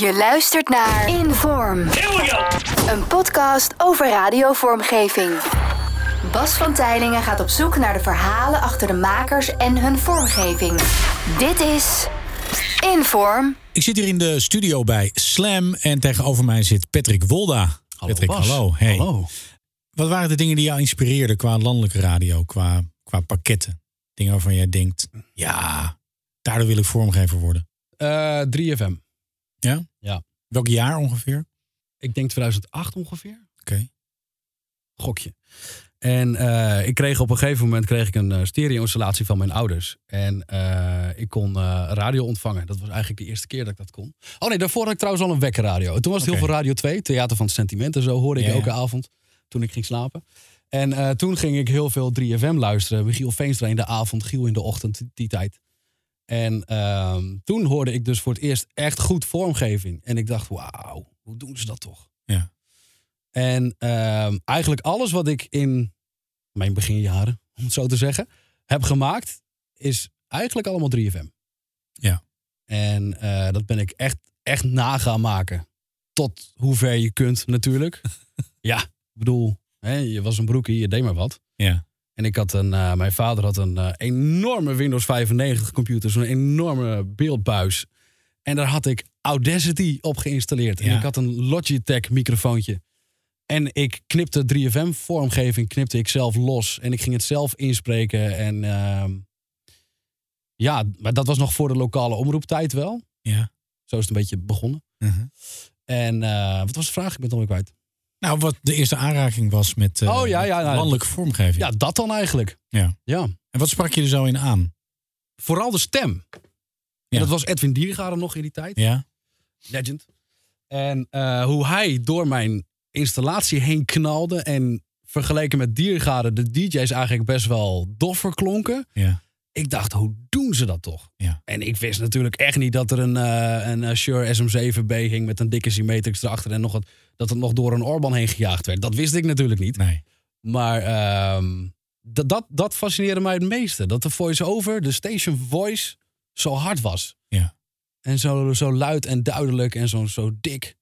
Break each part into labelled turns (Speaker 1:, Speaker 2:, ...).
Speaker 1: Je luistert naar Inform,
Speaker 2: Here we go.
Speaker 1: een podcast over radiovormgeving. Bas van Tijlingen gaat op zoek naar de verhalen achter de makers en hun vormgeving. Dit is Inform.
Speaker 3: Ik zit hier in de studio bij Slam en tegenover mij zit Patrick Wolda. Patrick,
Speaker 4: Bas.
Speaker 3: hallo. Hey.
Speaker 4: Hallo.
Speaker 3: Wat waren de dingen die jou inspireerden qua landelijke radio, qua, qua pakketten? Dingen waarvan jij denkt, ja, daardoor wil ik vormgever worden.
Speaker 4: Eh, 3FM.
Speaker 3: Ja?
Speaker 4: Ja.
Speaker 3: Welk jaar ongeveer?
Speaker 4: Ik denk 2008 ongeveer.
Speaker 3: Oké.
Speaker 4: Gokje. En eh, ik kreeg op een gegeven moment kreeg ik een eh, stereo-installatie van mijn ouders. En eh, ik kon eh, radio ontvangen. Dat was eigenlijk de eerste keer dat ik dat kon. Oh nee, daarvoor had ik trouwens al een wekkerradio. Toen was het
Speaker 3: Oké.
Speaker 4: heel veel Radio 2, Theater van het Sentiment en zo hoorde ik
Speaker 3: Ja, ja.
Speaker 4: elke avond toen ik ging slapen. En eh, toen ging ik heel veel 3FM luisteren. Michiel Veenstra in de avond, Giel in de ochtend, die tijd. En ehm, toen hoorde ik dus voor het eerst echt goed vormgeving. En ik dacht, wauw, hoe doen ze dat toch?
Speaker 3: Ja.
Speaker 4: En ehm, eigenlijk alles wat ik in mijn beginjaren, om het zo te zeggen, heb gemaakt, is eigenlijk allemaal 3FM.
Speaker 3: Ja.
Speaker 4: En eh, dat ben ik echt, echt na gaan maken. Tot hoever je kunt natuurlijk. ja, ik bedoel, hè, je was een broekie, je deed maar wat.
Speaker 3: Ja.
Speaker 4: En ik had een, eh, mijn vader had een eh, enorme Windows 95 computer, zo'n enorme beeldbuis. En daar had ik Audacity op geïnstalleerd. En
Speaker 3: Ja.
Speaker 4: ik had een Logitech microfoontje. En ik knipte 3FM vormgeving, knipte ik zelf los. En ik ging het zelf inspreken. En ehm, ja, maar dat was nog voor de lokale omroeptijd wel.
Speaker 3: Ja.
Speaker 4: Zo is het een beetje begonnen.
Speaker 3: Mhm.
Speaker 4: En eh, wat was de vraag? Ik ben het alweer kwijt.
Speaker 3: Nou, wat de eerste aanraking was met eh,
Speaker 4: Oh, ja, ja, ja.
Speaker 3: landelijke vormgeving.
Speaker 4: Ja, dat dan eigenlijk.
Speaker 3: Ja.
Speaker 4: ja.
Speaker 3: En wat sprak je er zo in aan?
Speaker 4: Vooral de stem.
Speaker 3: Ja.
Speaker 4: En dat was Edwin Diergaarden nog in die tijd.
Speaker 3: Ja?
Speaker 4: Legend. En eh, hoe hij door mijn installatie heen knalde. En vergeleken met Diergaarden, de DJ's eigenlijk best wel doffer klonken.
Speaker 3: Ja.
Speaker 4: Ik dacht, hoe doen ze dat toch?
Speaker 3: Ja.
Speaker 4: En ik wist natuurlijk echt niet dat er een, eh, een eh, Shure SM7B hing met een dikke Symmetrix erachter. En nog wat, dat het nog door een Orban heen gejaagd werd. Dat wist ik natuurlijk niet.
Speaker 3: Nee.
Speaker 4: Maar ehm, dat, dat, dat fascineerde mij het meeste. Dat de voice-over, de station voice, zo hard was.
Speaker 3: Ja.
Speaker 4: En zo, zo luid en duidelijk en zo, zo dik.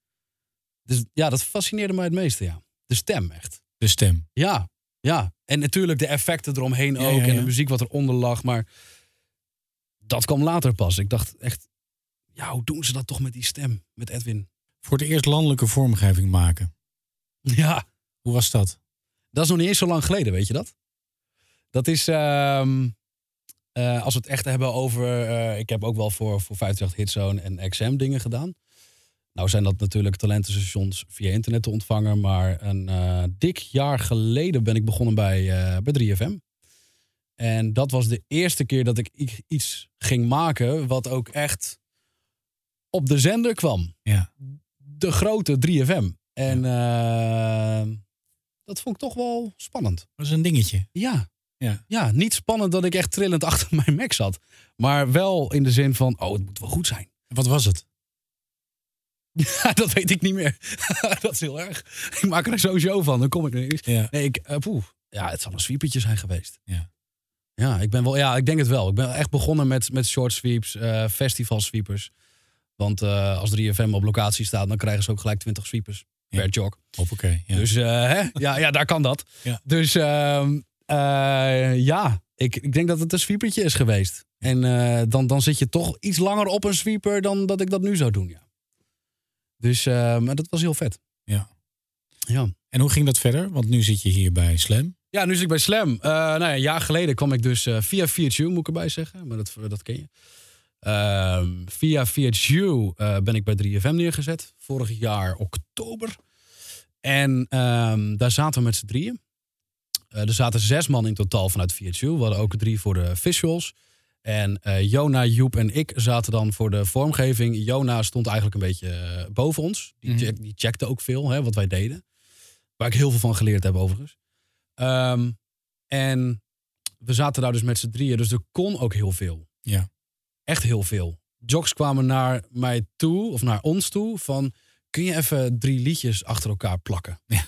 Speaker 4: Dus ja, dat fascineerde mij het meeste, ja. De stem echt.
Speaker 3: De stem.
Speaker 4: Ja, ja. En natuurlijk de effecten eromheen
Speaker 3: Ja,
Speaker 4: ook.
Speaker 3: ja,
Speaker 4: En
Speaker 3: ja.
Speaker 4: de muziek wat eronder lag. Maar dat kwam later pas. Ik dacht echt, ja, hoe doen ze dat toch met die stem? Met Edwin.
Speaker 3: Voor het eerst landelijke vormgeving maken.
Speaker 4: Ja.
Speaker 3: Hoe was dat?
Speaker 4: Dat is nog niet eens zo lang geleden, weet je dat? Dat is, ehm, eh, als we het echt hebben over... eh, ik heb ook wel voor, voor 58 Hitzone en XM dingen gedaan. Nou zijn dat natuurlijk talentenstations via internet te ontvangen. Maar een eh, dik jaar geleden ben ik begonnen bij, eh, bij 3FM. En dat was de eerste keer dat ik i- iets ging maken wat ook echt op de zender kwam.
Speaker 3: Ja.
Speaker 4: De grote 3FM. En eh, dat vond ik toch wel spannend.
Speaker 3: Dat is een dingetje.
Speaker 4: Ja.
Speaker 3: Ja.
Speaker 4: ja, niet spannend dat ik echt trillend achter mijn Mac zat. Maar wel in de zin van, oh, het moet wel goed zijn.
Speaker 3: Wat was het?
Speaker 4: dat weet ik niet meer. dat is heel erg. Ik maak er sowieso van, dan kom ik er niet.
Speaker 3: Ja.
Speaker 4: Nee, ik, eh, poeh. Ja, het zal een sweepertje zijn geweest.
Speaker 3: Ja.
Speaker 4: Ja, ik ben wel, ja, ik denk het wel. Ik ben echt begonnen met, met short sweeps, eh festival sweepers. Want eh, als 3FM op locatie staat, dan krijgen ze ook gelijk 20 sweepers
Speaker 3: Ja.
Speaker 4: per jog.
Speaker 3: Hoppakee. Ja.
Speaker 4: Dus eh, hè? Ja, ja, daar kan dat.
Speaker 3: Ja.
Speaker 4: Dus ehm, eh, ja, ik, ik denk dat het een sweepertje is geweest. En eh, dan, dan zit je toch iets langer op een sweeper dan dat ik dat nu zou doen. Ja. Dus eh, maar dat was heel vet.
Speaker 3: Ja.
Speaker 4: Ja.
Speaker 3: En hoe ging dat verder? Want nu zit je hier bij Slam.
Speaker 4: Ja, nu zit ik bij Slam. Eh, nou ja, een jaar geleden kwam ik dus eh, via 4Q, moet ik erbij zeggen. Maar dat, dat ken je. Ehm, via 4Q eh, ben ik bij 3FM neergezet. Vorig jaar oktober. En ehm, daar zaten we met z'n drieën. Eh, er zaten zes man in totaal vanuit 4Q. We hadden ook drie voor de visuals. En eh Jona, Joep en ik zaten dan voor de vormgeving. Jona stond eigenlijk een beetje eh, boven ons. Die,
Speaker 3: Mhm.
Speaker 4: check- die checkte ook veel hè, wat wij deden. Waar ik heel veel van geleerd heb overigens. Ehm, en we zaten daar dus met z'n drieën. Dus er kon ook heel veel.
Speaker 3: Ja.
Speaker 4: Echt heel veel. Jocks kwamen naar mij toe, of naar ons toe, van... Kun je even drie liedjes achter elkaar plakken?
Speaker 3: Ja.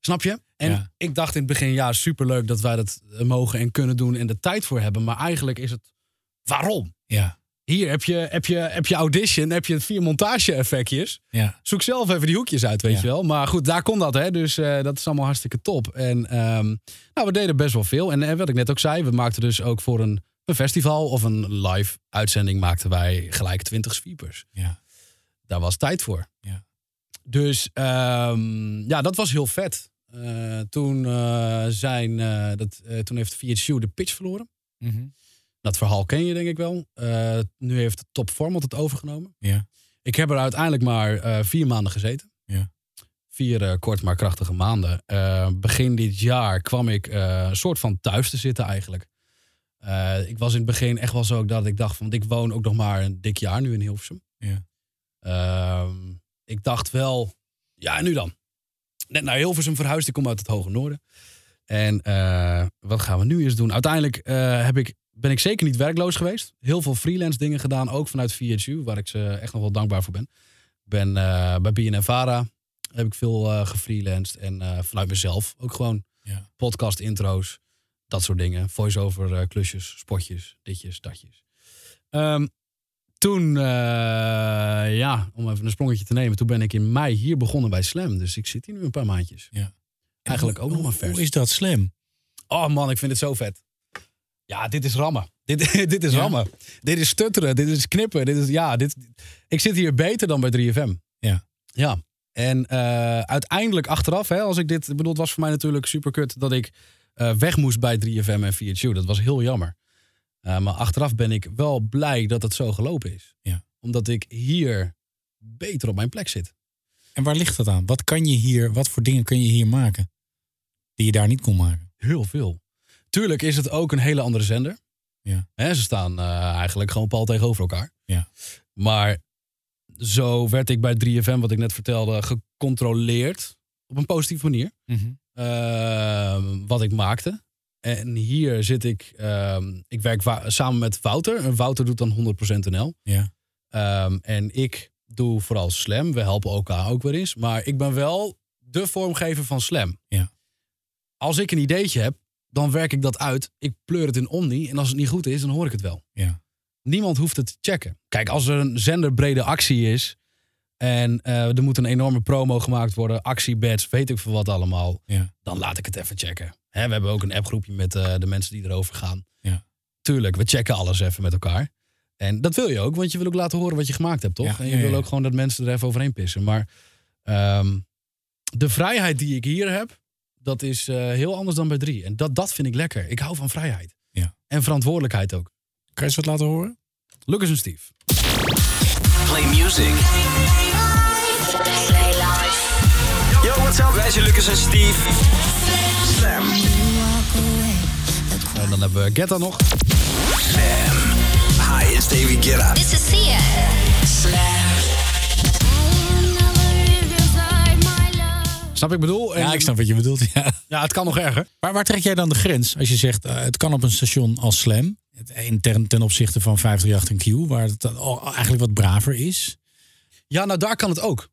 Speaker 4: Snap je? En
Speaker 3: Ja.
Speaker 4: ik dacht in het begin, ja, superleuk dat wij dat eh, mogen en kunnen doen... en de tijd voor hebben. Maar eigenlijk is het, waarom?
Speaker 3: Ja.
Speaker 4: Hier heb je, heb, je, heb je audition, heb je vier montage-effectjes.
Speaker 3: Ja.
Speaker 4: Zoek zelf even die hoekjes uit, weet
Speaker 3: Ja.
Speaker 4: je wel. Maar goed, daar kon dat, hè. Dus eh, dat is allemaal hartstikke top. En ehm, nou, we deden best wel veel. En eh, wat ik net ook zei, we maakten dus ook voor een, een festival of een live uitzending... maakten wij gelijk 20 sweepers.
Speaker 3: Ja.
Speaker 4: Daar was tijd voor.
Speaker 3: Ja.
Speaker 4: Dus ehm, ja, dat was heel vet. Eh, toen, eh, zijn, eh, dat, eh, toen heeft VHU de pitch verloren. Dat verhaal ken je denk ik wel. Eh, nu heeft Top Format het overgenomen.
Speaker 3: Ja.
Speaker 4: Ik heb er uiteindelijk maar eh, vier maanden gezeten.
Speaker 3: Ja.
Speaker 4: Vier eh, kort maar krachtige maanden. Eh, begin dit jaar kwam ik eh, een soort van thuis te zitten eigenlijk. Eh, ik was in het begin echt wel zo dat ik dacht van... ik woon ook nog maar een dik jaar nu in Hilversum.
Speaker 3: Ja.
Speaker 4: Ehm, ik dacht wel, ja en nu dan? Net naar Hilversum verhuisd, ik kom uit het Hoge Noorden. En eh, wat gaan we nu eens doen? Uiteindelijk eh, heb ik ben ik zeker niet werkloos geweest. Heel veel freelance dingen gedaan, ook vanuit VHU, waar ik ze echt nog wel dankbaar voor ben. Ik ben eh, bij BNNVARA heb ik veel eh gefreelanced en eh, vanuit mezelf ook gewoon
Speaker 3: Ja.
Speaker 4: podcast intro's, dat soort dingen. Voice-over eh, klusjes, spotjes, ditjes, datjes. Ehm, toen, eh, ja, om even een sprongetje te nemen, toen ben ik in mei hier begonnen bij Slam. Dus ik zit hier nu een paar maandjes. Eigenlijk ook nog maar vers.
Speaker 3: Hoe is dat slim?
Speaker 4: Oh man, ik vind het zo vet. Ja, dit is rammen. Dit, dit is
Speaker 3: Ja?
Speaker 4: rammen. Dit is stutteren. Dit is knippen. Dit is, ja, dit, ik zit hier beter dan bij 3FM.
Speaker 3: Ja.
Speaker 4: Ja. En eh, uiteindelijk achteraf, hè, als ik dit... Ik bedoel, het was voor mij natuurlijk super kut dat ik eh, weg moest bij 3FM en 4 Dat was heel jammer. Eh, maar achteraf ben ik wel blij dat het zo gelopen is.
Speaker 3: Ja.
Speaker 4: Omdat ik hier beter op mijn plek zit.
Speaker 3: En waar ligt dat aan? Wat kan je hier, wat voor dingen kun je hier maken? Die je daar niet kon maken.
Speaker 4: Heel veel. Tuurlijk is het ook een hele andere zender.
Speaker 3: Ja.
Speaker 4: Hè, ze staan eh, eigenlijk gewoon pal tegenover elkaar.
Speaker 3: Ja.
Speaker 4: Maar zo werd ik bij 3FM, wat ik net vertelde, gecontroleerd. Op een positieve manier. ehm, wat ik maakte. En hier zit ik, ehm, ik werk wa- samen met Wouter. En Wouter doet dan 100% NL.
Speaker 3: Ja.
Speaker 4: Ehm, en ik doe vooral Slam. We helpen elkaar ook weer eens. Maar ik ben wel de vormgever van Slam.
Speaker 3: Ja.
Speaker 4: Als ik een ideetje heb, dan werk ik dat uit. Ik pleur het in Omni. En als het niet goed is, dan hoor ik het wel.
Speaker 3: Ja.
Speaker 4: Niemand hoeft het te checken. Kijk, als er een zenderbrede actie is. En eh, er moet een enorme promo gemaakt worden. Actiebads, weet ik veel wat allemaal.
Speaker 3: Ja.
Speaker 4: Dan laat ik het even checken. Hè, we hebben ook een appgroepje met eh, de mensen die erover gaan.
Speaker 3: Ja.
Speaker 4: Tuurlijk, we checken alles even met elkaar. En dat wil je ook, want je wil ook laten horen wat je gemaakt hebt, toch?
Speaker 3: Ja,
Speaker 4: en je
Speaker 3: ja,
Speaker 4: wil
Speaker 3: ja.
Speaker 4: ook gewoon dat mensen er even overheen pissen. Maar ehm, de vrijheid die ik hier heb, dat is eh, heel anders dan bij drie. En dat, dat vind ik lekker. Ik hou van vrijheid.
Speaker 3: Ja.
Speaker 4: En verantwoordelijkheid ook.
Speaker 3: Kan je eens wat laten horen?
Speaker 4: Lucas en Steve.
Speaker 2: Play music. Yo, what's up? Wij zijn Lucas en Steve. Slam.
Speaker 4: En Nou, dan hebben we Getta nog.
Speaker 2: Hi, it's David Guetta.
Speaker 5: This is Sia.
Speaker 4: Snap ik bedoel?
Speaker 3: Ja,
Speaker 4: En-
Speaker 3: ik snap wat je bedoelt. Ja.
Speaker 4: Ja, het kan nog erger.
Speaker 3: Maar waar trek jij dan de grens? Als je zegt, eh, het kan op een station als Slam. het- in Ten, ten opzichte van 538 en Q. Waar het dan al- eigenlijk wat braver is.
Speaker 4: Ja, nou daar kan het ook,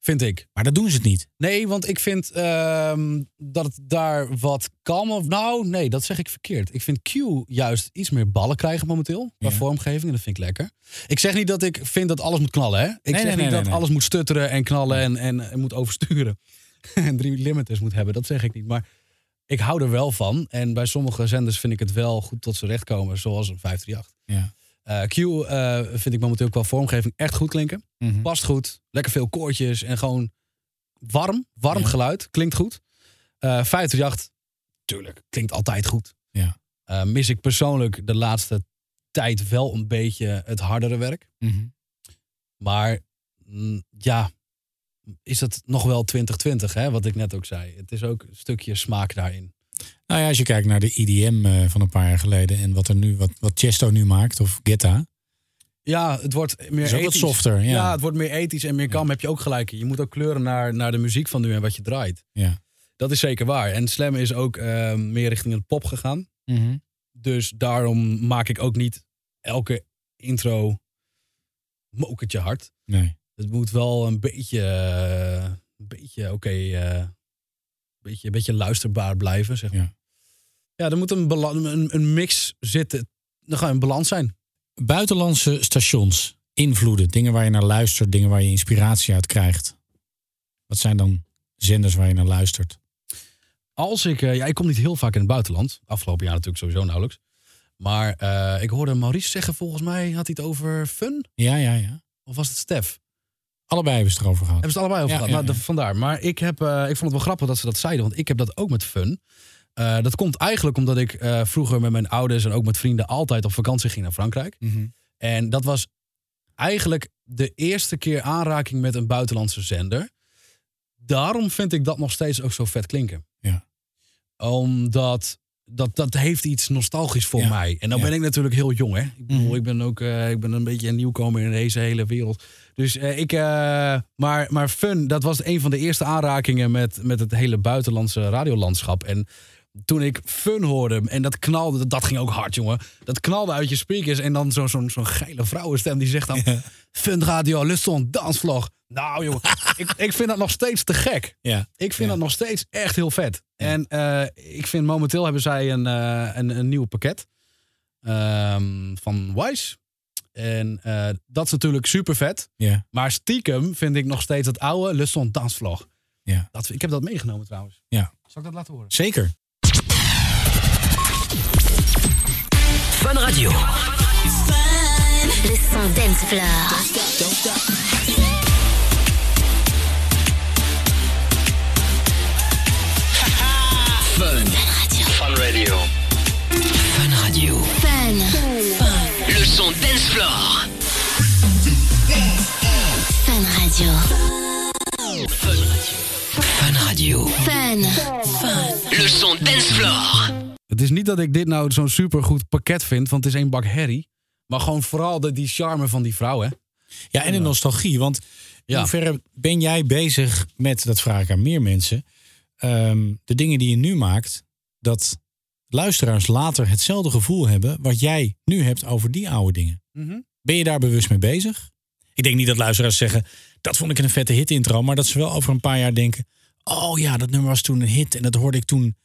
Speaker 4: vind ik.
Speaker 3: Maar dat doen ze het niet.
Speaker 4: Nee, want ik vind ehm, dat het daar wat kan. Of, nou, nee, dat zeg ik verkeerd. Ik vind Q juist iets meer ballen krijgen momenteel. Qua
Speaker 3: Ja.
Speaker 4: vormgeving, en dat vind ik lekker. Ik zeg niet dat ik vind dat alles moet knallen, hè. Ik zeg
Speaker 3: nee,
Speaker 4: niet
Speaker 3: nee,
Speaker 4: dat
Speaker 3: nee, nee.
Speaker 4: alles moet stutteren en knallen en, en, en moet oversturen. en drie limiters moet hebben, dat zeg ik niet. Maar ik hou er wel van. En bij sommige zenders vind ik het wel goed tot ze recht komen. Zoals een 538.
Speaker 3: Ja.
Speaker 4: Eh, Q eh, vind ik momenteel qua vormgeving echt goed klinken.
Speaker 3: Mhm.
Speaker 4: Past goed. Lekker veel koortjes en gewoon warm. Warm
Speaker 3: Ja.
Speaker 4: geluid. Klinkt goed. Eh 538, tuurlijk, klinkt altijd goed.
Speaker 3: Ja.
Speaker 4: Eh, mis ik persoonlijk de laatste tijd wel een beetje het hardere werk.
Speaker 3: Mhm.
Speaker 4: Maar mm, ja, is dat nog wel 2020, hè? wat ik net ook zei. Het is ook een stukje smaak daarin.
Speaker 3: Nou ja, als je kijkt naar de IDM eh, van een paar jaar geleden. En wat, er nu, wat, wat Chesto nu maakt. Of Getta.
Speaker 4: Ja, het wordt meer
Speaker 3: Is ook wat
Speaker 4: ethisch.
Speaker 3: softer. Ja.
Speaker 4: Ja. het wordt meer ethisch en meer kam. Heb je ook gelijk. in. Je moet ook kleuren naar, naar de muziek van nu en wat je draait.
Speaker 3: Ja.
Speaker 4: Dat is zeker waar. En Slam is ook eh, meer richting het pop gegaan.
Speaker 3: Mhm.
Speaker 4: Dus daarom maak ik ook niet elke intro mokertje hard.
Speaker 3: Nee.
Speaker 4: Het moet wel een beetje, eh, een beetje oké, eh, een beetje, een beetje luisterbaar blijven, zeg maar.
Speaker 3: Ja.
Speaker 4: Ja, er moet een, bala- een, een mix zitten. Er gaat een balans zijn.
Speaker 3: Buitenlandse stations, invloeden, dingen waar je naar luistert, dingen waar je inspiratie uit krijgt. Wat zijn dan zenders waar je naar luistert?
Speaker 4: Als ik, eh, ja, ik kom niet heel vaak in het buitenland. Afgelopen jaar natuurlijk sowieso nauwelijks. Maar eh, ik hoorde Maurice zeggen, volgens mij had hij het over fun.
Speaker 3: Ja, ja, ja.
Speaker 4: Of was het Stef?
Speaker 3: Allebei hebben ze het erover gehad.
Speaker 4: Hebben ze het allebei over
Speaker 3: Ja,
Speaker 4: gehad?
Speaker 3: ja,
Speaker 4: Nou,
Speaker 3: ja.
Speaker 4: de- vandaar. Maar ik, heb, eh, ik vond het wel grappig dat ze dat zeiden. Want ik heb dat ook met fun. Eh, dat komt eigenlijk omdat ik eh, vroeger met mijn ouders en ook met vrienden altijd op vakantie ging naar Frankrijk.
Speaker 3: Mhm.
Speaker 4: En dat was eigenlijk de eerste keer aanraking met een buitenlandse zender. Daarom vind ik dat nog steeds ook zo vet klinken.
Speaker 3: Ja.
Speaker 4: Omdat dat, dat heeft iets nostalgisch voor
Speaker 3: Ja.
Speaker 4: mij. En dan
Speaker 3: Ja.
Speaker 4: ben ik natuurlijk heel jong, hè. Ik, bedoel,
Speaker 3: Mhm.
Speaker 4: ik ben ook eh, ik ben een beetje een nieuwkomer in deze hele wereld. Dus eh, ik, eh, maar, maar Fun, dat was een van de eerste aanrakingen met, met het hele buitenlandse radiolandschap. En toen ik Fun hoorde, en dat knalde, dat ging ook hard, jongen. Dat knalde uit je speakers en dan zo'n zo'n zo'n geile vrouwenstem die zegt dan... Fun Radio, Luston, Dansvlog. Nou, jongen, ik, ik vind dat nog steeds te gek.
Speaker 3: Ja.
Speaker 4: Ik vind
Speaker 3: Ja.
Speaker 4: dat nog steeds echt heel vet. En eh, ik vind momenteel hebben zij een, eh, een, een nieuw pakket ehm, van Wise. En eh, dat is natuurlijk super vet.
Speaker 3: Ja.
Speaker 4: Maar stiekem vind ik nog steeds dat oude Luston dansvlog.
Speaker 3: Ja.
Speaker 4: Dat, ik heb dat meegenomen trouwens.
Speaker 3: ja.
Speaker 4: Zal ik dat laten horen?
Speaker 3: Zeker.
Speaker 2: Fun Radio.
Speaker 5: Le son dance floor.
Speaker 6: Fun Radio. Fun Radio.
Speaker 5: Fun.
Speaker 6: Le son dance floor.
Speaker 5: Fun Radio.
Speaker 6: Fun Radio.
Speaker 5: Fun.
Speaker 6: Le son dance floor.
Speaker 4: Het is niet dat ik dit nou zo'n super goed pakket vind, want het is één bak herrie. Maar gewoon vooral de, die charme van die vrouw, hè?
Speaker 3: Ja, en de nostalgie. Want in
Speaker 4: Ja.
Speaker 3: hoeverre ben jij bezig met, dat vraag ik aan meer mensen, ehm, de dingen die je nu maakt, dat luisteraars later hetzelfde gevoel hebben wat jij nu hebt over die oude dingen.
Speaker 4: Mhm.
Speaker 3: Ben je daar bewust mee bezig? Ik denk niet dat luisteraars zeggen, dat vond ik een vette hit intro, maar dat ze wel over een paar jaar denken, oh ja, dat nummer was toen een hit en dat hoorde ik toen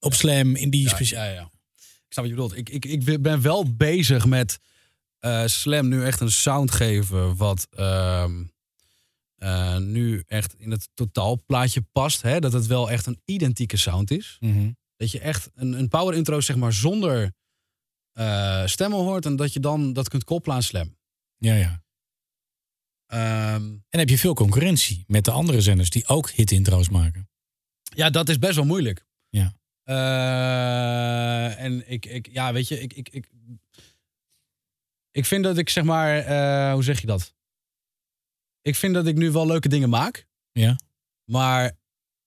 Speaker 3: op Slam in die speciale...
Speaker 4: Dus Ja, ja, ja. Ik snap wat je bedoelt. Ik, ik, ik ben wel bezig met eh, Slam nu echt een sound geven wat ehm, eh, nu echt in het totaalplaatje past. Hè? Dat het wel echt een identieke sound is. Dat je echt een, een power intro zeg maar zonder eh, stemmen hoort en dat je dan dat kunt koppelen aan Slam.
Speaker 3: ja, ja.
Speaker 4: Ehm,
Speaker 3: En heb je veel concurrentie met de andere zenders die ook hit intro's maken.
Speaker 4: Ja, dat is best wel moeilijk.
Speaker 3: Ja.
Speaker 4: Eh, en ik, ik, ja, weet je, ik, ik, ik, ik vind dat ik zeg maar, eh, hoe zeg je dat? Ik vind dat ik nu wel leuke dingen maak,
Speaker 3: Ja,
Speaker 4: maar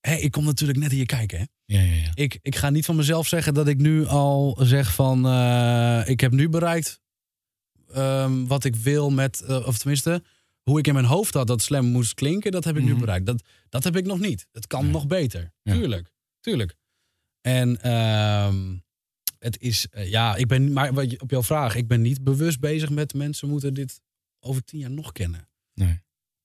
Speaker 4: hé, ik kom natuurlijk net hier kijken. Hè?
Speaker 3: ja, ja. ja.
Speaker 4: Ik, ik ga niet van mezelf zeggen dat ik nu al zeg van, eh, ik heb nu bereikt ehm, wat ik wil met, eh, of tenminste, hoe ik in mijn hoofd had dat slam moest klinken, dat heb ik
Speaker 3: Mhm.
Speaker 4: nu bereikt. Dat, dat heb ik nog niet. Het kan
Speaker 3: Nee.
Speaker 4: nog beter.
Speaker 3: Ja.
Speaker 4: Tuurlijk, tuurlijk. En ehm, het is, eh, ja, ik ben, maar wat je- op jouw vraag, ik ben niet bewust bezig met mensen moeten dit over tien jaar nog kennen.
Speaker 3: Nee.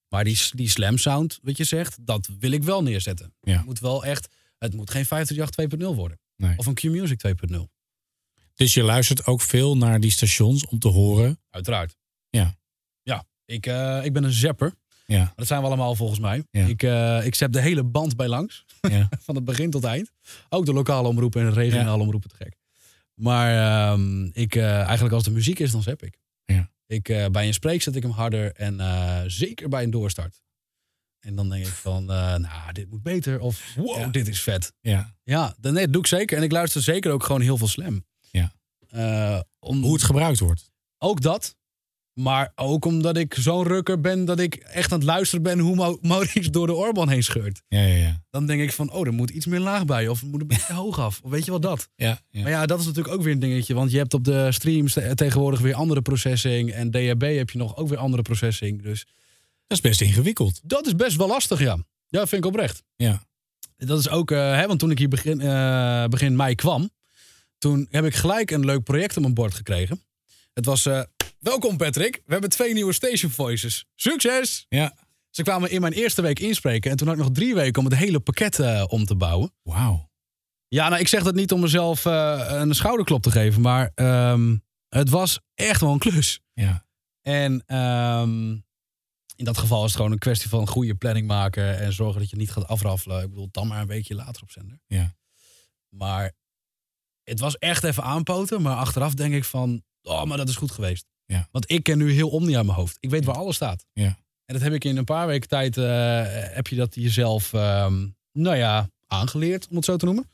Speaker 4: Maar die, die slam sound, wat je zegt, dat wil ik wel neerzetten.
Speaker 3: Ja.
Speaker 4: Het moet wel echt, het moet geen 538 2.0 worden.
Speaker 3: Nee.
Speaker 4: Of een Q-Music 2.0,
Speaker 3: Dus je luistert ook veel naar die stations om te horen.
Speaker 4: uiteraard.
Speaker 3: Ja.
Speaker 4: Ja, ik, eh, ik ben een zapper.
Speaker 3: Ja,
Speaker 4: Dat zijn we allemaal volgens mij.
Speaker 3: Ja.
Speaker 4: Ik, eh ik zap de hele band bij langs.
Speaker 3: ja,
Speaker 4: van het begin tot eind. Ook de lokale omroepen en de regionale omroepen te gek. Maar ehm, ik, eh, eigenlijk als de muziek is, dan heb ik.
Speaker 3: Ja.
Speaker 4: ik eh, bij een spreek zet ik hem harder en eh, zeker bij een doorstart. En dan denk ik van, eh, nou, dit moet beter. Of, wow,
Speaker 3: Ja.
Speaker 4: dit is vet.
Speaker 3: ja.
Speaker 4: Ja, dat nee, dat doe ik zeker. En ik luister zeker ook gewoon heel veel slam.
Speaker 3: Ja.
Speaker 4: Eh, om,
Speaker 3: Hoe het gebruikt wordt.
Speaker 4: ook dat. Maar ook omdat ik zo'n rukker ben dat ik echt aan het luisteren ben hoe Mau- Maurits door de Orban heen scheurt
Speaker 3: Ja, ja, ja.
Speaker 4: dan denk ik van, oh, er moet iets meer laag bij. Of er moet een beetje hoog af. Of weet je wel dat.
Speaker 3: ja, ja.
Speaker 4: Maar ja, dat is natuurlijk ook weer een dingetje. Want je hebt op de streams te- tegenwoordig weer andere processing. En DHB heb je nog ook weer andere processing. Dus
Speaker 3: Dat is best ingewikkeld.
Speaker 4: dat is best wel lastig, ja. Ja, vind ik oprecht.
Speaker 3: Ja.
Speaker 4: Dat is ook, eh, hè, want toen ik hier begin, eh, begin mei kwam... toen heb ik gelijk een leuk project op mijn bord gekregen. Het was, eh, welkom Patrick, we hebben twee nieuwe Station Voices. Succes!
Speaker 3: Ja.
Speaker 4: Ze kwamen in mijn eerste week inspreken. En toen had ik nog drie weken om het hele pakket eh, om te bouwen.
Speaker 3: Wauw.
Speaker 4: Ja, nou, ik zeg dat niet om mezelf eh, een schouderklop te geven, maar ehm, Het was echt wel een klus.
Speaker 3: Ja.
Speaker 4: En ehm, in dat geval is het gewoon een kwestie van goede planning maken en zorgen dat je niet gaat afraffelen. Ik bedoel, dan maar een weekje later op zender.
Speaker 3: Ja.
Speaker 4: Maar het was echt even aanpoten, maar achteraf denk ik van, oh, maar dat is goed geweest.
Speaker 3: Ja.
Speaker 4: Want ik ken nu heel Omni aan mijn hoofd. Ik weet waar alles staat.
Speaker 3: Ja.
Speaker 4: En dat heb ik in een paar weken tijd, eh, heb je dat jezelf, ehm, nou ja, aangeleerd, om het zo te noemen.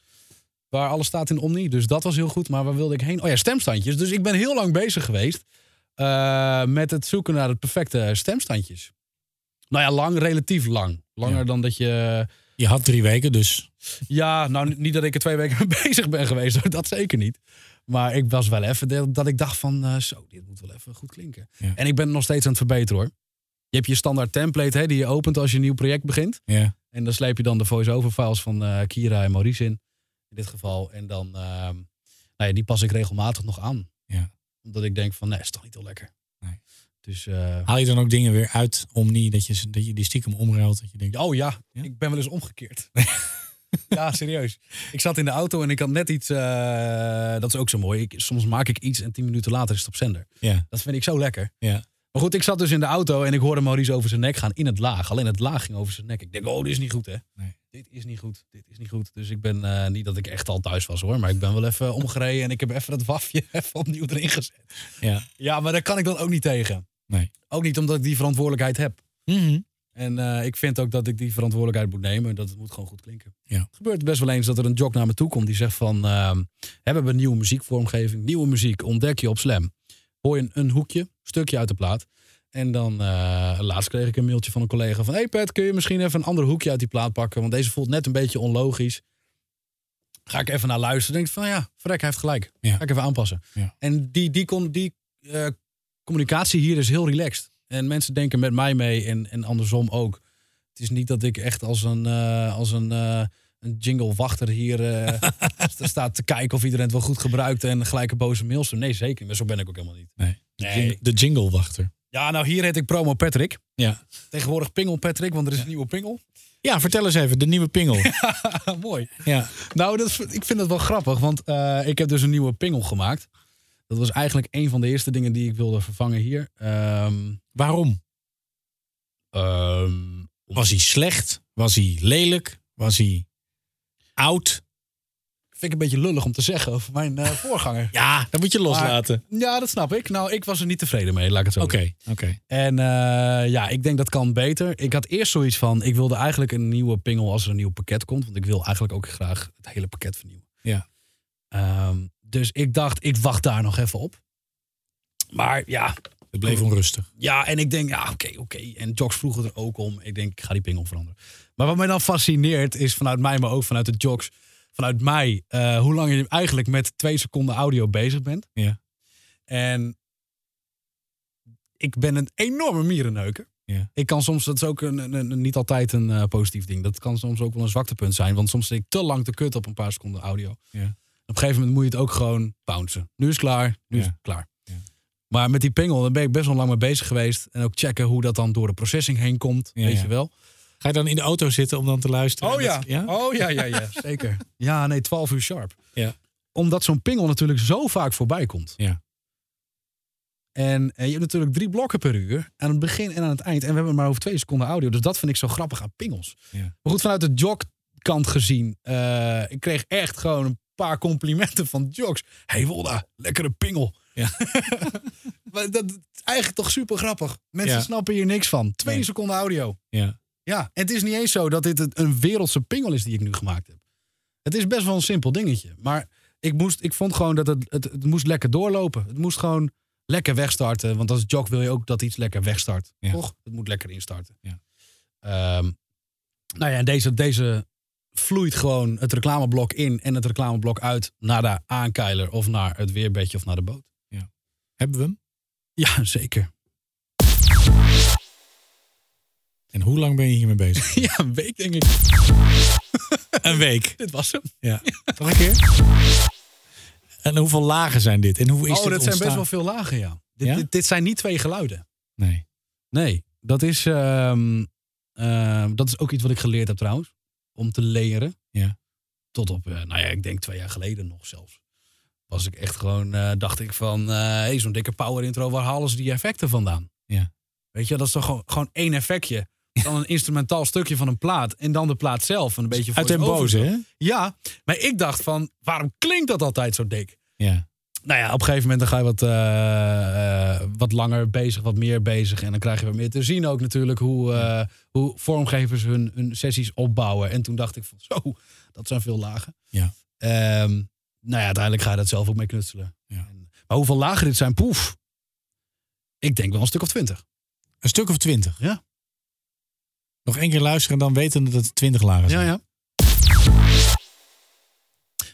Speaker 4: Waar alles staat in Omni. Dus dat was heel goed. Maar waar wilde ik heen? Oh ja, stemstandjes. Dus ik ben heel lang bezig geweest eh, met het zoeken naar het perfecte stemstandjes. Nou ja, lang, relatief lang. Langer
Speaker 3: Ja.
Speaker 4: dan dat je...
Speaker 3: Je had drie weken, dus
Speaker 4: Ja, nou niet dat ik er twee weken mee bezig ben geweest. hoor, Dat zeker niet. Maar ik was wel even dat- dat ik dacht van eh, zo, dit moet wel even goed klinken.
Speaker 3: Ja.
Speaker 4: En ik ben nog steeds aan het verbeteren hoor. Je hebt je standaard template hè, die je opent als je een nieuw project begint.
Speaker 3: ja.
Speaker 4: En dan sleep je dan de voice-over files van eh, Kira en Maurice in. In dit geval. En dan, ehm, nou ja, die pas ik regelmatig nog aan.
Speaker 3: Ja.
Speaker 4: Omdat ik denk van, nee, is toch niet heel lekker.
Speaker 3: Nee.
Speaker 4: Dus, eh,
Speaker 3: Haal je dan ook dingen weer uit om niet dat je, dat je die stiekem omruilt? Dat je denkt,
Speaker 4: Oh ja,
Speaker 3: Ja?
Speaker 4: ik ben wel eens omgekeerd. ja, serieus. Ik zat in de auto en ik had net iets. eh, dat is ook zo mooi. Ik, soms maak ik iets en tien minuten later is het op zender.
Speaker 3: ja,
Speaker 4: Dat vind ik zo lekker.
Speaker 3: ja,
Speaker 4: Maar goed, ik zat dus in de auto en ik hoorde Maurice over zijn nek gaan in het laag. Alleen het laag ging over zijn nek. Ik denk, oh, dit is niet goed, hè?
Speaker 3: Nee.
Speaker 4: Dit is niet goed. Dit is niet goed. Dus ik ben eh, niet dat ik echt al thuis was hoor, maar ik ben wel even omgereden en ik heb even dat wafje even opnieuw erin gezet.
Speaker 3: ja.
Speaker 4: Ja, maar daar kan ik dan ook niet tegen.
Speaker 3: Nee.
Speaker 4: Ook niet omdat ik die verantwoordelijkheid heb.
Speaker 3: Mhm.
Speaker 4: En eh, ik vind ook dat ik die verantwoordelijkheid moet nemen. Dat het moet gewoon goed klinken.
Speaker 3: Ja.
Speaker 4: Het gebeurt best wel eens dat er een jock naar me toe komt die zegt van... ehm, hè, we hebben een nieuwe muziekvormgeving. Nieuwe muziek ontdek je op Slam. Hoor je een, een hoekje, stukje uit de plaat. En dan eh, laatst kreeg ik een mailtje van een collega van... Hey Pet, kun je misschien even een ander hoekje uit die plaat pakken? Want deze voelt net een beetje onlogisch. Ga ik even naar luisteren. Denk ik van ja, verrek, hij heeft gelijk.
Speaker 3: Ja.
Speaker 4: Ga ik even aanpassen.
Speaker 3: Ja.
Speaker 4: En die, die, kon, die eh, communicatie hier is heel relaxed. En mensen denken met mij mee en, en andersom ook. Het is niet dat ik echt als een, eh, als een, eh, een jingle-wachter hier eh, sta- staat te kijken of iedereen het wel goed gebruikt en gelijk een boze mail stuurt. Nee, zeker. niet. Maar zo ben ik ook helemaal niet.
Speaker 3: Nee. De,
Speaker 4: Nee.
Speaker 3: jing- de jinglewachter.
Speaker 4: Ja, nou hier heet ik promo Patrick.
Speaker 3: Ja.
Speaker 4: Tegenwoordig Pingel Patrick, want er is een nieuwe Pingel.
Speaker 3: ja, vertel eens even, de nieuwe pingel.
Speaker 4: Mooi.
Speaker 3: ja.
Speaker 4: Nou, dat, is- ik vind dat wel grappig, want eh, ik heb dus een nieuwe Pingel gemaakt. Dat was eigenlijk een van de eerste dingen die ik wilde vervangen hier. Ehm,
Speaker 3: Waarom?
Speaker 4: ehm,
Speaker 3: Was hij slecht? Was hij lelijk? Was hij oud?
Speaker 4: vind ik een beetje lullig om te zeggen over mijn eh, voorganger.
Speaker 3: Ja, dat moet je loslaten.
Speaker 4: Ja, dat snap ik. Nou, ik was er niet tevreden mee, laat ik het zo
Speaker 3: Oké, oké.
Speaker 4: En eh, ja, ik denk dat kan beter. Ik had eerst zoiets van, ik wilde eigenlijk een nieuwe pingel als er een nieuw pakket komt. Want ik wil eigenlijk ook graag het hele pakket vernieuwen.
Speaker 3: Ja.
Speaker 4: Ehm, dus ik dacht, ik wacht daar nog even op. Maar ja,
Speaker 3: Het bleef onrustig.
Speaker 4: ja, en ik denk, ja, oké, oké. En Jocks vroegen er ook om. Ik denk, ik ga die pingel veranderen. Maar wat mij dan fascineert is vanuit mij, maar ook vanuit de Jocks, vanuit mij, eh, hoe lang je eigenlijk met twee seconden audio bezig bent.
Speaker 3: Ja.
Speaker 4: En ik ben een enorme mierenneuker.
Speaker 3: Ja.
Speaker 4: Ik kan soms, dat is ook een, een- een- niet altijd een eh, positief ding. Dat kan soms ook wel een zwaktepunt zijn. Want soms zit ik te lang te kut op een paar seconden audio.
Speaker 3: Ja.
Speaker 4: Op een gegeven moment moet je het ook gewoon bouncen. Nu is het klaar, nu is
Speaker 3: Ja.
Speaker 4: het klaar.
Speaker 3: Ja.
Speaker 4: Maar met die pingel, daar ben ik best wel lang mee bezig geweest. En ook checken hoe dat dan door de processing heen komt.
Speaker 3: Ja,
Speaker 4: weet
Speaker 3: ja.
Speaker 4: je wel.
Speaker 3: Ga je dan in de auto zitten om dan te luisteren?
Speaker 4: Oh ja.
Speaker 3: Dat- ja?
Speaker 4: Oh ja, ja, ja. Zeker. Ja, nee, 12 uur sharp.
Speaker 3: Ja.
Speaker 4: Omdat zo'n pingel natuurlijk zo vaak voorbij komt.
Speaker 3: Ja.
Speaker 4: En, eh, je hebt natuurlijk drie blokken per uur. Aan het begin en aan het eind. En we hebben maar over twee seconden audio. Dus dat vind ik zo grappig aan pingels.
Speaker 3: Ja.
Speaker 4: Maar goed, vanuit de jogkant gezien. eh, ik kreeg echt gewoon een paar complimenten van jogs. hey Wolda, lekkere pingel.
Speaker 3: Ja.
Speaker 4: maar dat is eigenlijk toch super grappig. Mensen
Speaker 3: Ja.
Speaker 4: snappen hier niks van. Twee
Speaker 3: Nee.
Speaker 4: seconden audio.
Speaker 3: Ja.
Speaker 4: Ja, en het is niet eens zo dat dit een- een wereldse pingel is die ik nu gemaakt heb. Het is best wel een simpel dingetje. Maar ik, moest, ik vond gewoon dat het, het, het moest lekker doorlopen. Het moest gewoon lekker wegstarten. Want als jog wil je ook dat iets lekker wegstart.
Speaker 3: Ja.
Speaker 4: Toch? Het moet lekker instarten.
Speaker 3: Ja.
Speaker 4: Ehm, nou ja, en deze, deze vloeit gewoon het reclameblok in en het reclameblok uit naar de aankeiler of naar het weerbedje of naar de boot.
Speaker 3: Hebben we hem?
Speaker 4: Ja, zeker.
Speaker 3: En hoe lang ben je hiermee bezig?
Speaker 4: Ja, een week denk ik.
Speaker 3: een week.
Speaker 4: Dit was hem.
Speaker 3: Ja. Nog een keer? En hoeveel lagen zijn dit? En hoe is dit
Speaker 4: oh, dat zijn best
Speaker 3: ontstaan?
Speaker 4: wel veel lagen, ja. Dit,
Speaker 3: Ja?
Speaker 4: dit, dit zijn niet twee geluiden.
Speaker 3: Nee.
Speaker 4: Nee, dat is, ehm, ehm, dat is ook iets wat ik geleerd heb trouwens. Om te leren.
Speaker 3: Ja.
Speaker 4: Tot op, eh, nou ja, ik denk twee jaar geleden nog zelfs. was ik echt gewoon, eh, dacht ik van, eh, hey, zo'n dikke power intro, waar halen ze die effecten vandaan?
Speaker 3: Ja.
Speaker 4: Weet je, dat is toch gewoon, gewoon één effectje. Dan een instrumentaal stukje van een plaat en dan de plaat zelf. En een beetje
Speaker 3: Uit den
Speaker 4: voice-over.
Speaker 3: boze, hè?
Speaker 4: Ja, maar ik dacht van, waarom klinkt dat altijd zo dik?
Speaker 3: Ja.
Speaker 4: Nou ja, op een gegeven moment dan ga je wat, eh, eh, wat langer bezig, wat meer bezig. En dan krijg je wat meer te zien ook natuurlijk hoe, eh, hoe vormgevers hun, hun sessies opbouwen. En toen dacht ik van zo, dat zijn veel lagen.
Speaker 3: Ja.
Speaker 4: Ehm, nou ja, uiteindelijk ga je dat zelf ook mee knutselen.
Speaker 3: Ja.
Speaker 4: En- maar hoeveel lagen dit zijn, poef. Ik denk wel een stuk of twintig.
Speaker 3: Een stuk of twintig.
Speaker 4: Ja.
Speaker 3: Nog één keer luisteren en dan wetende dat het twintig lagen zijn.
Speaker 4: ja.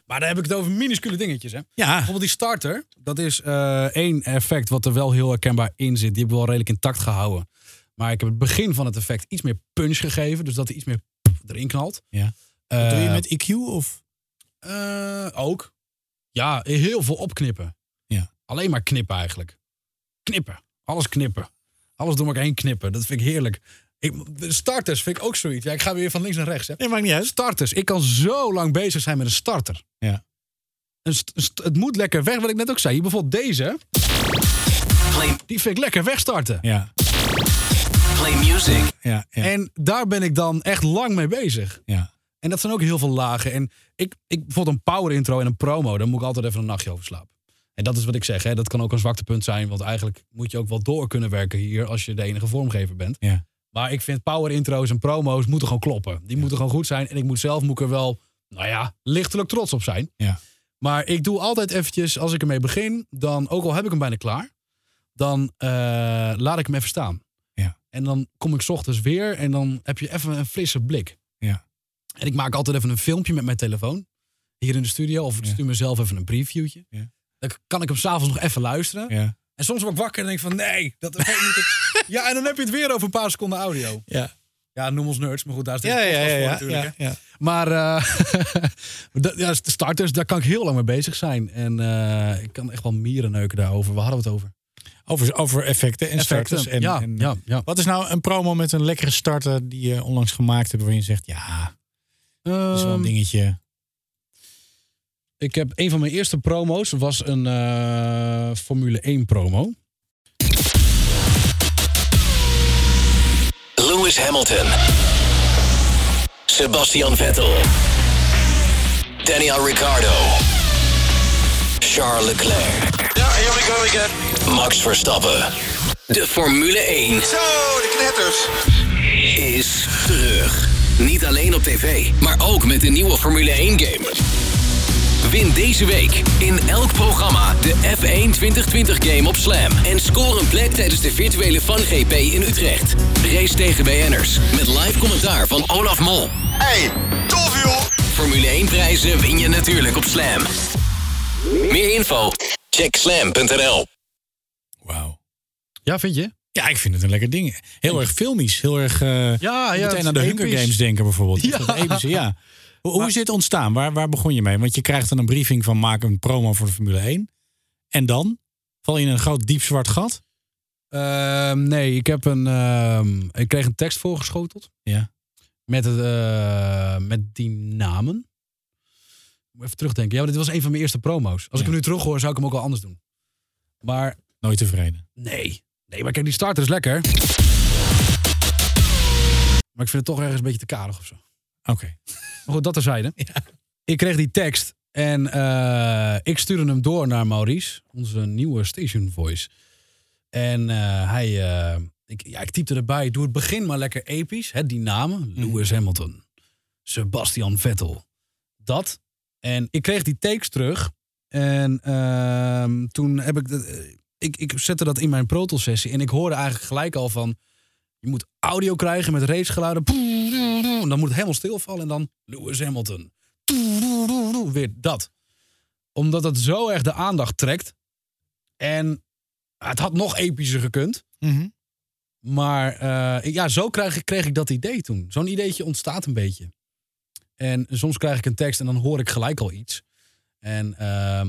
Speaker 4: Maar dan heb ik het over minuscule dingetjes hè.
Speaker 3: ja.
Speaker 4: Bijvoorbeeld die starter. Dat is eh, één effect wat er wel heel herkenbaar in zit. Die heb ik wel redelijk intact gehouden. Maar ik heb het begin van het effect iets meer punch gegeven. Dus dat hij iets meer erin knalt.
Speaker 3: Ja.
Speaker 4: Eh,
Speaker 3: Doe je met EQ of?
Speaker 4: eh, ook. Ja, heel veel opknippen.
Speaker 3: Ja.
Speaker 4: Alleen maar knippen eigenlijk. Knippen. Alles knippen. Alles door elkaar heen knippen. Dat vind ik heerlijk. Ik, de starters vind ik ook zoiets. Ja, ik ga weer van links naar rechts. Hè.
Speaker 3: Nee, maakt niet uit.
Speaker 4: Starters. Ik kan zo lang bezig zijn met een starter.
Speaker 3: Ja.
Speaker 4: Een st- st- het moet lekker weg, wat ik net ook zei. Hier bijvoorbeeld deze.
Speaker 2: Play,
Speaker 4: Die vind ik lekker wegstarten.
Speaker 3: Ja.
Speaker 2: play music.
Speaker 3: Ja. Ja.
Speaker 4: En daar ben ik dan echt lang mee bezig.
Speaker 3: ja.
Speaker 4: En dat zijn ook heel veel lagen. En ik, ik bijvoorbeeld een power intro en een promo, daar moet ik altijd even een nachtje over slapen. En dat is wat ik zeg, hè. dat kan ook een zwaktepunt zijn. Want eigenlijk moet je ook wel door kunnen werken hier als je de enige vormgever bent.
Speaker 3: Ja.
Speaker 4: Maar ik vind power intro's en promo's moeten gewoon kloppen. Die moeten gewoon goed zijn. En ik moet zelf moet ik er wel, nou ja, lichtelijk trots op zijn.
Speaker 3: Ja.
Speaker 4: Maar ik doe altijd eventjes, als ik ermee begin, dan, ook al heb ik hem bijna klaar, dan eh, laat ik hem even staan.
Speaker 3: Ja.
Speaker 4: En dan kom ik 's ochtends weer en dan heb je even een frisse blik.
Speaker 3: Ja.
Speaker 4: En ik maak altijd even een filmpje met mijn telefoon. Hier in de studio. Of ik
Speaker 3: Ja.
Speaker 4: stuur mezelf even een previewtje.
Speaker 3: Ja.
Speaker 4: Dan kan ik hem s'avonds nog even luisteren.
Speaker 3: Ja.
Speaker 4: En soms word ik wakker en denk van nee, dat effect moet ik... Ja, en dan heb je het weer over een paar seconden audio.
Speaker 3: Ja.
Speaker 4: Ja, noem ons nerds, maar goed, daar is de
Speaker 3: Ja. Ja.
Speaker 4: podcast
Speaker 3: Ja.
Speaker 4: voor
Speaker 3: Ja.
Speaker 4: natuurlijk. hè.
Speaker 3: Ja. Ja.
Speaker 4: Maar eh, dat- ja, de starters, daar kan ik heel lang mee bezig zijn. En eh, ik kan echt wel mieren neuken daarover. Waar hadden we het over? eh,
Speaker 3: Over, over effecten en starters. En,
Speaker 4: ja,
Speaker 3: en-
Speaker 4: ja, ja.
Speaker 3: Wat is nou een promo met een lekkere starter die je onlangs gemaakt hebt waarin je zegt, ja, dat is wel een
Speaker 4: Ehm,
Speaker 3: dingetje.
Speaker 4: Ik heb een van mijn eerste promo's was een eh, Formule 1 promo.
Speaker 2: Lewis Hamilton. Sebastian Vettel. Daniel Ricciardo. Charles Leclerc. Ja, here we go again. Max Verstappen. De Formule 1
Speaker 7: Zo, de knetters.
Speaker 2: is terug. Niet alleen op tv, maar ook met de nieuwe Formule 1 game. Win deze week in elk programma de F1 2020 game op Slam. En score een plek tijdens de virtuele Fun GP in Utrecht. Race tegen BN'ers met live commentaar van Olaf Mol.
Speaker 7: Hey, tof joh.
Speaker 2: Formule 1 prijzen win je natuurlijk op Slam. Meer info? Check slam.nl
Speaker 3: Wauw.
Speaker 4: Ja, vind je?
Speaker 3: Ja, ik vind het een lekker ding. Heel erg filmisch. Heel erg eh,
Speaker 4: Ah, ja,
Speaker 3: meteen
Speaker 4: het
Speaker 3: aan de
Speaker 4: is
Speaker 3: Hunger
Speaker 4: episch.
Speaker 3: Games denken bijvoorbeeld.
Speaker 4: Ja.
Speaker 3: Ja. epische, ja. Hoe, hoe is dit ontstaan? Waar, waar begon je mee? Want je krijgt dan een briefing van maak een promo voor de Formule 1. En dan val je in een groot diep zwart gat.
Speaker 4: Ehm, nee, ik, heb een, ehm, ik kreeg een tekst voorgeschoteld.
Speaker 3: Ja.
Speaker 4: Met, het, eh, met die namen. Moet Even terugdenken. Ja, maar dit was een van mijn eerste promo's. Als ik
Speaker 3: Ja.
Speaker 4: hem nu terug hoor, zou ik hem ook wel anders doen. Maar
Speaker 3: Nooit tevreden.
Speaker 4: nee. Nee, maar kijk, die starter is lekker. Maar ik vind het toch ergens een beetje te karig of zo.
Speaker 3: Oké.
Speaker 4: Maar goed, dat terzijde. Ik kreeg die tekst en eh, ik stuurde hem door naar Maurice, onze nieuwe station voice. En eh, hij, eh, ik, ja, ik typte erbij, doe het begin maar lekker episch. Hè, die namen, Lewis Hamilton, Sebastian Vettel, dat. En ik kreeg die tekst terug en ehm, toen heb ik, dat- eh, ik, ik zette dat in mijn Pro sessie en ik hoorde eigenlijk gelijk al van, je moet audio krijgen met racegeluiden. En dan moet het helemaal stilvallen. En dan Lewis Hamilton. Weer dat. Omdat dat zo erg de aandacht trekt. En het had nog epischer gekund.
Speaker 3: Mhm.
Speaker 4: Maar eh, ja, zo kreeg, kreeg ik dat idee toen. Zo'n ideetje ontstaat een beetje. En soms krijg ik een tekst en dan hoor ik gelijk al iets. En ehm,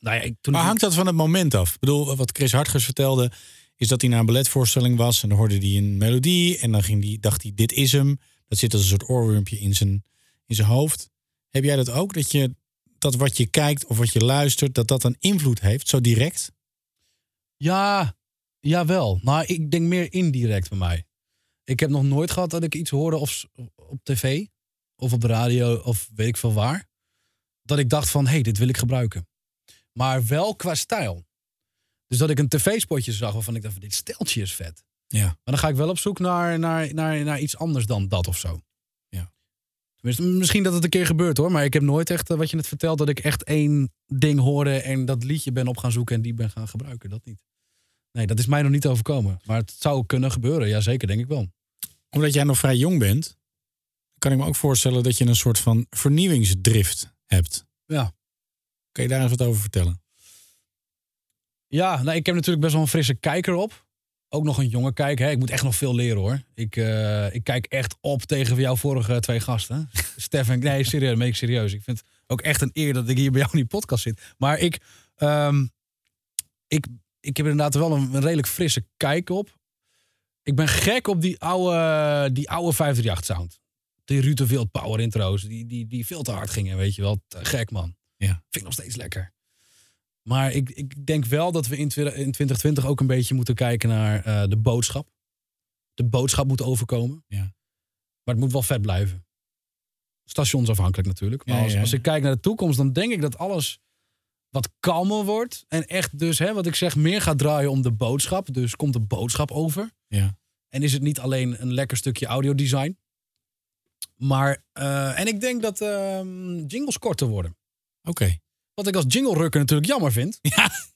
Speaker 4: nou ja, ik, toen
Speaker 3: Maar
Speaker 4: ik-
Speaker 3: hangt dat van het moment af? Ik bedoel, wat Chris Hartgers vertelde, is dat hij naar een balletvoorstelling was en dan hoorde hij een melodie en dan ging die, dacht hij, dit is hem. Dat zit als een soort oorwurmpje in zijn, in zijn hoofd. Heb jij dat ook, dat je dat wat je kijkt of wat je luistert, dat dat een invloed heeft, zo direct?
Speaker 4: Ja, jawel. Maar ik denk meer indirect bij mij. Ik heb nog nooit gehad dat ik iets hoorde of s- op tv of op de radio of weet ik veel waar. Dat ik dacht van, hé, hey, dit wil ik gebruiken. Maar wel qua stijl. Dus dat ik een tv-spotje zag waarvan ik dacht, van, dit steltje is vet.
Speaker 3: Ja.
Speaker 4: Maar dan ga ik wel op zoek naar, naar, naar, naar iets anders dan dat of zo.
Speaker 3: Ja.
Speaker 4: Tenminste, misschien dat het een keer gebeurt hoor. Maar ik heb nooit echt, eh, wat je net vertelt, dat ik echt één ding hoorde en dat liedje ben op gaan zoeken en die ben gaan gebruiken. Dat niet. Nee, dat is mij nog niet overkomen. Maar het zou kunnen gebeuren. Jazeker, denk ik wel.
Speaker 3: Omdat jij nog vrij jong bent, kan ik me ook voorstellen dat je een soort van vernieuwingsdrift hebt.
Speaker 4: Ja.
Speaker 3: Kun je daar eens wat over vertellen?
Speaker 4: Ja, nou, ik heb natuurlijk best wel een frisse kijker op. Ook nog een jonge kijker. Hè? Ik moet echt nog veel leren hoor. Ik, eh, ik kijk echt op tegen jouw vorige twee gasten. Stef en... Nee, serieus. meen ik serieus. Ik vind het ook echt een eer dat ik hier bij jou in die podcast zit. Maar ik, ehm, ik, ik heb inderdaad wel een, een redelijk frisse kijk op. Ik ben gek op die oude, die oude 538 sound. Die Ruud de Wild power intro's. Die, die, die veel te hard gingen, weet je wel. Te gek man.
Speaker 3: Ja.
Speaker 4: Vind ik nog steeds lekker. Maar ik, ik denk wel dat we in, twi- in 2020 ook een beetje moeten kijken naar eh, de boodschap. De boodschap moet overkomen.
Speaker 3: Ja.
Speaker 4: Maar het moet wel vet blijven. Stationsafhankelijk natuurlijk. Maar
Speaker 3: Ja,
Speaker 4: als,
Speaker 3: ja.
Speaker 4: als ik kijk naar de toekomst, dan denk ik dat alles wat kalmer wordt. En echt dus, hè, wat ik zeg, meer gaat draaien om de boodschap. Dus komt de boodschap over.
Speaker 3: Ja.
Speaker 4: En is het niet alleen een lekker stukje audiodesign. Maar, eh, en ik denk dat ehm, jingles korter worden.
Speaker 3: Oké.
Speaker 4: Wat ik als jingle rukker natuurlijk jammer vind.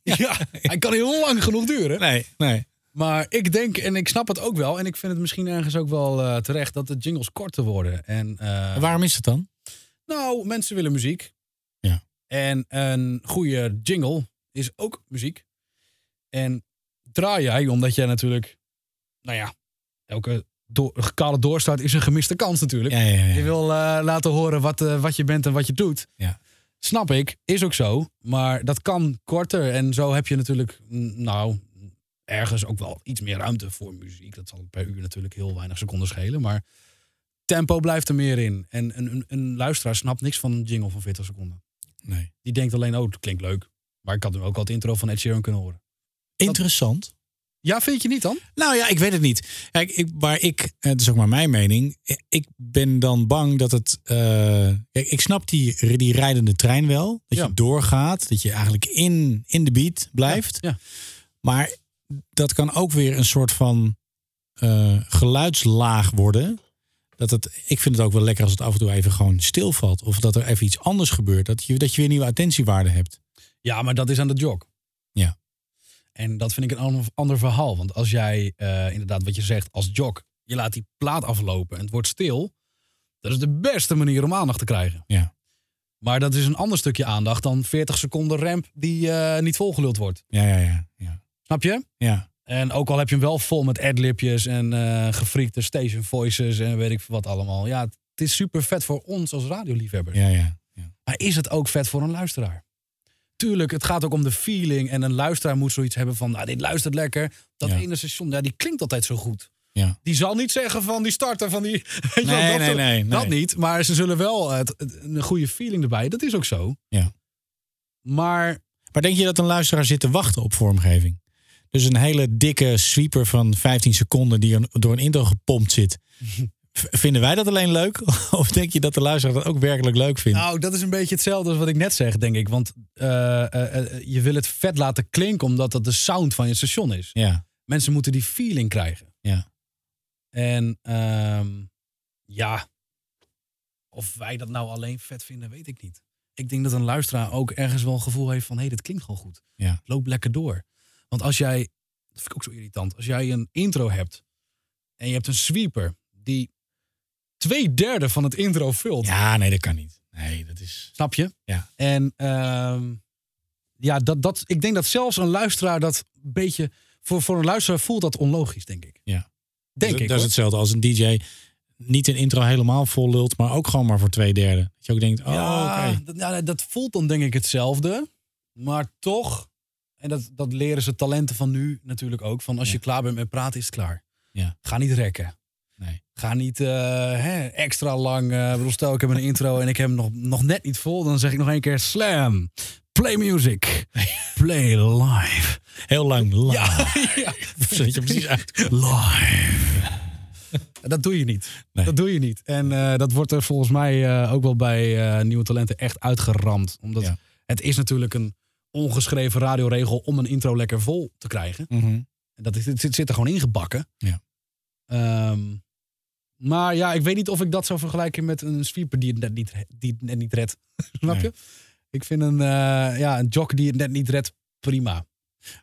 Speaker 3: Ja.
Speaker 4: Hij kan heel lang genoeg duren.
Speaker 3: Nee, nee.
Speaker 4: Maar ik denk, en ik snap het ook wel, en ik vind het misschien ergens ook wel eh, terecht, dat de jingles korter worden. En, eh,
Speaker 3: En waarom is het dan?
Speaker 4: Nou, mensen willen muziek.
Speaker 3: Ja.
Speaker 4: En een goede jingle is ook muziek. En draai jij, omdat jij natuurlijk, nou ja, elke do kale doorstart is een gemiste kans natuurlijk.
Speaker 3: Ja, ja,
Speaker 4: Je wil eh, laten horen wat, eh, wat je bent en wat je doet.
Speaker 3: Ja.
Speaker 4: Snap ik, is ook zo. Maar dat kan korter. En zo heb je natuurlijk, mm, nou, ergens ook wel iets meer ruimte voor muziek. Dat zal per uur natuurlijk heel weinig seconden schelen. Maar tempo blijft er meer in. En een, een, een luisteraar snapt niks van een jingle van 40 seconden.
Speaker 3: Nee.
Speaker 4: Die denkt alleen, oh, het klinkt leuk. Maar ik had hem ook al het intro van Ed Sheeran kunnen horen.
Speaker 3: Interessant.
Speaker 4: Ja, vind je niet dan?
Speaker 3: Nou ja, ik weet het niet. Kijk, ik, waar ik, eh, het is ook maar mijn mening, eh, ik ben dan bang dat het. eh, kijk, ik snap die, die rijdende trein wel. Dat
Speaker 4: Ja.
Speaker 3: je doorgaat, dat je eigenlijk in, in de beat blijft.
Speaker 4: Ja.
Speaker 3: Maar dat kan ook weer een soort van eh, geluidslaag worden. Dat het, ik vind het ook wel lekker als het af en toe even gewoon stilvalt. Of dat er even iets anders gebeurt. Dat je, dat je weer nieuwe attentiewaarde hebt.
Speaker 4: Ja, maar dat is aan de jog.
Speaker 3: Ja.
Speaker 4: En dat vind ik een ander, ander verhaal. Want als jij eh, inderdaad wat je zegt als jog, je laat die plaat aflopen en het wordt stil. Dat is de beste manier om aandacht te krijgen.
Speaker 3: Ja.
Speaker 4: Maar dat is een ander stukje aandacht dan 40 seconden ramp die eh, niet volgeluld wordt.
Speaker 3: Ja, ja, ja. Ja.
Speaker 4: Snap je?
Speaker 3: ja.
Speaker 4: En ook al heb je hem wel vol met adlibjes en eh gefriekte station voices en weet ik veel wat allemaal. Ja, het is super vet voor ons als radioliefhebbers.
Speaker 3: Ja, ja, ja.
Speaker 4: Maar is het ook vet voor een luisteraar? Tuurlijk, het gaat ook om de feeling. En een luisteraar moet zoiets hebben van, nou, dit luistert lekker. Dat
Speaker 3: Ja.
Speaker 4: ene station, ja, die klinkt altijd zo goed.
Speaker 3: Ja.
Speaker 4: Die zal niet zeggen van die starter van die... weet je wel,
Speaker 3: Nee,
Speaker 4: dat,
Speaker 3: nee,
Speaker 4: soort-
Speaker 3: nee, nee.
Speaker 4: Dat niet, maar ze zullen wel eh, het, het- een goede feeling erbij. Dat is ook zo.
Speaker 3: Ja.
Speaker 4: Maar
Speaker 3: Maar denk je dat een luisteraar zit te wachten op vormgeving? Dus een hele dikke sweeper van 15 seconden die een- door een intro gepompt zit. V- Vinden wij dat alleen leuk? Of denk je dat de luisteraar dat ook werkelijk leuk vindt?
Speaker 4: Nou, dat is een beetje hetzelfde als wat ik net zeg, denk ik. Want eh, eh, eh, je wil het vet laten klinken, omdat dat de sound van je station is.
Speaker 3: ja,
Speaker 4: Mensen moeten die feeling krijgen.
Speaker 3: ja,
Speaker 4: En ehm, ja, of wij dat nou alleen vet vinden, weet ik niet. Ik denk dat een luisteraar ook ergens wel een gevoel heeft van... hé, hey, dit klinkt gewoon goed.
Speaker 3: Ja.
Speaker 4: Loop lekker door. Want als jij, dat vind ik ook zo irritant... als jij een intro hebt en je hebt een sweeper... die twee derde van het intro vult...
Speaker 3: ja, nee, dat kan niet. Nee, dat is.
Speaker 4: Snap je?
Speaker 3: Ja.
Speaker 4: En ehm, ja, dat, dat, ik denk dat zelfs een luisteraar dat een beetje... Voor, voor een luisteraar voelt dat onlogisch, denk ik.
Speaker 3: Ja.
Speaker 4: Denk
Speaker 3: dat,
Speaker 4: ik,
Speaker 3: Dat is
Speaker 4: hoor.
Speaker 3: hetzelfde als een DJ niet een intro helemaal vol lult, maar ook gewoon maar voor twee derde. Dat je ook denkt, oh,
Speaker 4: ja,
Speaker 3: oké.
Speaker 4: dat, ja, dat voelt dan denk ik hetzelfde. Maar toch, en dat, dat leren ze talenten van nu natuurlijk ook. Van als je klaar bent met praten, is het klaar.
Speaker 3: Ja.
Speaker 4: Ga niet rekken.
Speaker 3: Nee.
Speaker 4: Ga Ga niet eh, hè, extra lang. eh, ik bedoel, stel, ik heb een intro en ik heb hem nog, nog net niet vol. Dan zeg ik nog één keer slam. Play music. Play live.
Speaker 3: Heel lang. live.
Speaker 4: Ja, ja.
Speaker 3: Zet je precies uit.
Speaker 4: Live. Dat doe je niet.
Speaker 3: Nee.
Speaker 4: Dat doe je niet. En eh, dat wordt er volgens mij eh, ook wel bij eh, nieuwe talenten echt uitgeramd. Omdat
Speaker 3: Ja.
Speaker 4: het is natuurlijk een ongeschreven radioregel om een intro lekker vol te krijgen.
Speaker 3: Mhm.
Speaker 4: Dat is, het zit, zit er gewoon ingebakken.
Speaker 3: Ja.
Speaker 4: Ehm, maar ja, ik weet niet of ik dat zou vergelijken met een sweeper die het net niet, re- die het net niet redt. Snap
Speaker 3: Nee.
Speaker 4: je? Ik vind een, eh, ja, een jock die het net niet redt prima.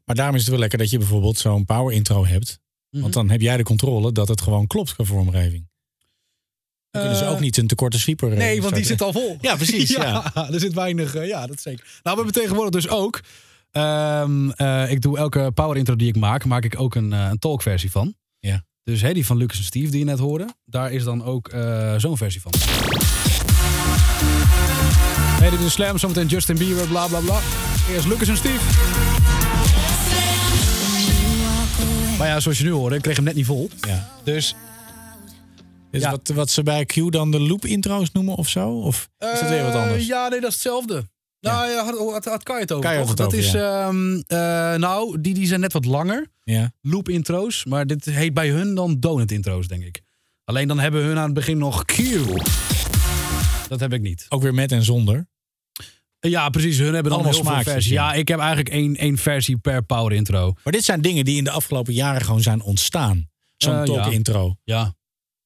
Speaker 3: Maar daarom is het wel lekker dat je bijvoorbeeld zo'n power intro hebt.
Speaker 4: Mhm.
Speaker 3: Want dan heb jij de controle dat het gewoon klopt qua vormgeving. Dan kunnen ze
Speaker 4: Eh,
Speaker 3: ook niet een tekorte sweeper... eh,
Speaker 4: Nee, want die
Speaker 3: starten.
Speaker 4: zit al vol.
Speaker 3: Ja, precies, ja.
Speaker 4: er zit weinig. eh, ja, dat is zeker. Nou, we hebben tegenwoordig dus ook. ehm, eh, ik doe elke power intro die ik maak, maak ik ook een, eh, een talkversie van.
Speaker 3: Ja.
Speaker 4: Dus hè, die van Lucas en Steve die je net hoorde, daar is dan ook eh, zo'n versie van. Hey, dit is Slam, zometeen Justin Bieber, bla bla bla. Eerst Lucas en Steve. Maar ja, zoals je nu hoorde, ik kreeg hem net niet vol.
Speaker 3: Ja.
Speaker 4: Dus
Speaker 3: Is
Speaker 4: Ja.
Speaker 3: Wat, wat ze bij Q dan de loop intro's noemen of zo? Of is dat weer wat
Speaker 4: Eh,
Speaker 3: anders?
Speaker 4: ja, nee, dat is hetzelfde. Nou ja, had, had, had Kai het over.
Speaker 3: Kai had het
Speaker 4: toch? dat
Speaker 3: over,
Speaker 4: is, ehm, eh, nou, die, die zijn net wat langer.
Speaker 3: Ja.
Speaker 4: Loop intro's, maar dit heet bij hun dan donut intro's, denk ik. Alleen dan hebben hun aan het begin nog Q. Dat heb ik niet. Eh,
Speaker 3: Ook weer met en zonder.
Speaker 4: Ja, precies. Hun hebben dan
Speaker 3: Allemaal
Speaker 4: heel veel
Speaker 3: smaakjes,
Speaker 4: versies.
Speaker 3: ja.
Speaker 4: Ja, ik heb eigenlijk één, één versie per power intro.
Speaker 3: Maar dit zijn dingen die in de afgelopen jaren gewoon zijn ontstaan. Zo'n
Speaker 4: Eh,
Speaker 3: talk
Speaker 4: ja.
Speaker 3: intro.
Speaker 4: Ja.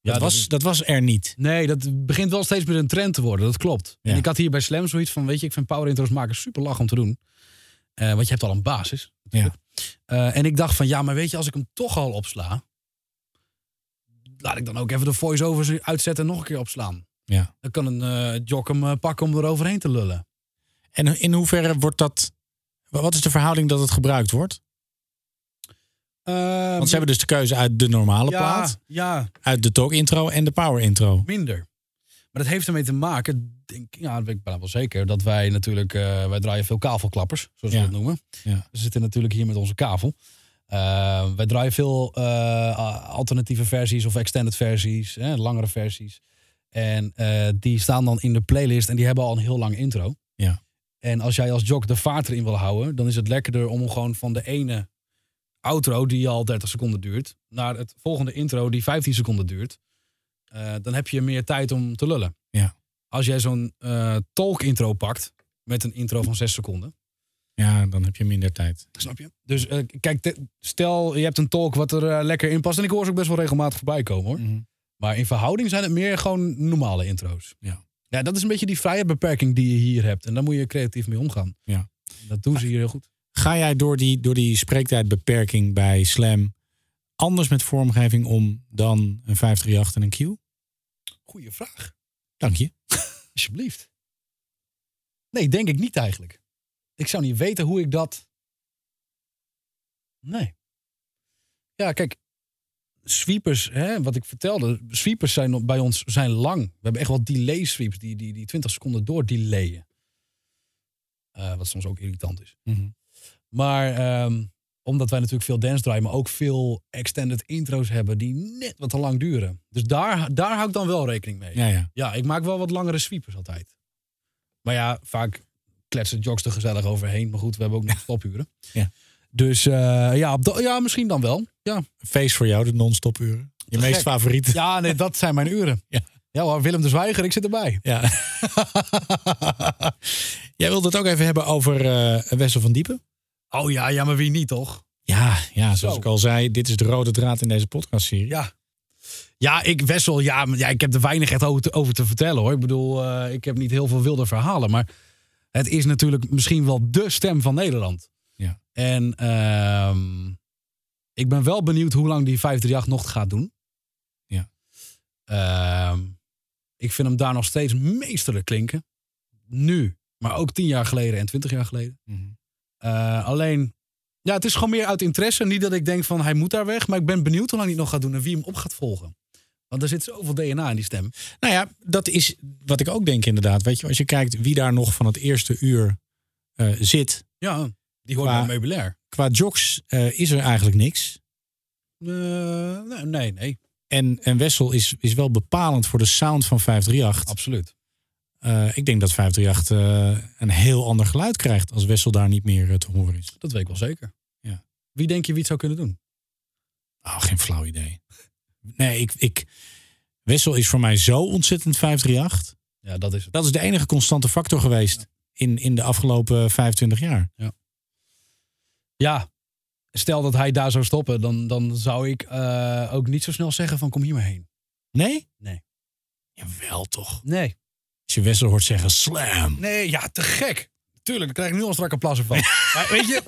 Speaker 3: dat,
Speaker 4: dat
Speaker 3: was,
Speaker 4: is-
Speaker 3: dat was er niet.
Speaker 4: Nee, dat begint wel steeds meer een trend te worden. Dat klopt.
Speaker 3: Ja.
Speaker 4: En ik had hier bij Slam zoiets van, weet je, ik vind power intro's maken super lach om te doen. Eh, want je hebt al een basis. natuurlijk. Eh, en ik dacht van, ja, maar weet je, als ik hem toch al opsla, laat ik dan ook even de voice-overs uitzetten en nog een keer opslaan.
Speaker 3: Ja.
Speaker 4: Dan kan een eh jock hem eh, pakken om er overheen te lullen.
Speaker 3: En in hoeverre wordt dat... wa- Wat is de verhouding dat het gebruikt wordt? Want ze hebben dus de keuze uit de normale plaat,
Speaker 4: Ehm, Ja,
Speaker 3: uit de talk intro en de power intro.
Speaker 4: minder. Maar dat heeft ermee te maken, denk, ik- ja, dat weet ik bijna wel zeker, dat wij natuurlijk, eh, wij draaien veel kavelklappers, zoals
Speaker 3: Ja.
Speaker 4: we dat noemen.
Speaker 3: Ja.
Speaker 4: We zitten natuurlijk hier met onze kavel. Eh, wij draaien veel eh, a- alternatieve versies of extended versies, hè, langere versies. En eh, die staan dan in de playlist en die hebben al een heel lang intro.
Speaker 3: Ja.
Speaker 4: En als jij als jock de vaart erin wil houden, dan is het lekkerder om gewoon van de ene outro die al 30 seconden duurt, naar het volgende intro die 15 seconden duurt. Eh, dan heb je meer tijd om te lullen.
Speaker 3: Ja.
Speaker 4: Als jij zo'n eh talk intro pakt met een intro van 6 seconden,
Speaker 3: Ja, dan heb je minder tijd.
Speaker 4: Snap je? Dus eh, kijk, te- stel je hebt een talk wat er eh, lekker in past. En ik hoor ze ook best wel regelmatig voorbij komen hoor.
Speaker 3: Mhm.
Speaker 4: Maar in verhouding zijn het meer gewoon normale intro's.
Speaker 3: Ja.
Speaker 4: ja, dat is een beetje die vrije beperking die je hier hebt. En daar moet je creatief mee omgaan.
Speaker 3: Ja.
Speaker 4: Dat doen ze hier heel goed.
Speaker 3: Ga jij door die, door die spreektijdbeperking bij Slam anders met vormgeving om dan een 538 en een Q?
Speaker 4: Goeie vraag.
Speaker 3: Dank je.
Speaker 4: Alsjeblieft. Nee, denk ik niet eigenlijk. Ik zou niet weten hoe ik dat. Nee. Ja, kijk. Sweepers, hè, wat ik vertelde. Sweepers zijn op- bij ons zijn lang. We hebben echt wel delay sweeps die, die, die 20 seconden door delayen. Eh, wat soms ook irritant is.
Speaker 3: Mhm.
Speaker 4: Maar ehm, omdat wij natuurlijk veel dance draaien, maar ook veel extended intro's hebben die net wat te lang duren. Dus daar, daar hou ik dan wel rekening mee.
Speaker 3: Ja, ja.
Speaker 4: Ja, ik maak wel wat langere sweepers altijd. Maar ja, vaak kletsen jocks er gezellig overheen. Maar goed, we hebben ook nog stopuren.
Speaker 3: Ja.
Speaker 4: Dus eh, ja, op dat- ja, misschien dan wel. Ja.
Speaker 3: Een feest voor jou, de non-stop uren. Je meest
Speaker 4: gek.
Speaker 3: favoriete.
Speaker 4: ja, nee, dat zijn mijn uren.
Speaker 3: Ja.
Speaker 4: Ja, hoor, Willem de Zwijger, ik zit erbij.
Speaker 3: Ja. Jij wilde het ook even hebben over eh, Wessel van Diepen.
Speaker 4: Oh ja, ja, maar wie niet toch?
Speaker 3: Ja, ja, zoals
Speaker 4: Zo.
Speaker 3: ik al zei, dit is de rode draad in deze podcastserie.
Speaker 4: Ja. Ja, ik wessel. Ja, maar ja, ik heb er weinig echt over te, over te vertellen hoor. Ik bedoel, eh, ik heb niet heel veel wilde verhalen. Maar het is natuurlijk misschien wel de stem van Nederland.
Speaker 3: Ja.
Speaker 4: En ehm, ik ben wel benieuwd hoe lang die 538 nog gaat doen.
Speaker 3: Ja.
Speaker 4: Ehm, ik vind hem daar nog steeds meesterlijk klinken. Nu, maar ook tien jaar geleden en twintig jaar geleden.
Speaker 3: Mhm.
Speaker 4: Eh, alleen, ja, het is gewoon meer uit interesse. Niet dat ik denk van hij moet daar weg. Maar ik ben benieuwd hoe lang hij het nog gaat doen en wie hem op gaat volgen. Want er zit zoveel DNA in die stem.
Speaker 3: Nou ja, dat is wat ik ook denk inderdaad. Weet je, als je kijkt wie daar nog van het eerste uur eh, zit.
Speaker 4: Ja, die hoort
Speaker 3: Qua-
Speaker 4: bij het meubilair.
Speaker 3: Qua jocks eh, is er eigenlijk niks.
Speaker 4: Eh, nee, nee, nee.
Speaker 3: En, en Wessel is, is wel bepalend voor de sound van 538.
Speaker 4: Absoluut.
Speaker 3: Eh, ik denk dat 538 eh, een heel ander geluid krijgt als Wessel daar niet meer eh, te horen is.
Speaker 4: Dat weet ik wel zeker.
Speaker 3: Ja.
Speaker 4: Wie denk je wie het zou kunnen doen?
Speaker 3: Oh, geen flauw idee. Nee, ik, ik, Wessel is voor mij zo ontzettend 538.
Speaker 4: Ja, dat is het.
Speaker 3: Dat is de enige constante factor geweest in, in de afgelopen 25 jaar.
Speaker 4: Ja, stel dat hij daar zou stoppen, dan, dan zou ik eh, ook niet zo snel zeggen van kom hier maar heen.
Speaker 3: Nee?
Speaker 4: Nee.
Speaker 3: Jawel toch.
Speaker 4: Nee.
Speaker 3: Als je Wessel hoort zeggen slam.
Speaker 4: Nee, ja, te gek. Tuurlijk, daar krijg ik nu al strak applaus van. maar weet je,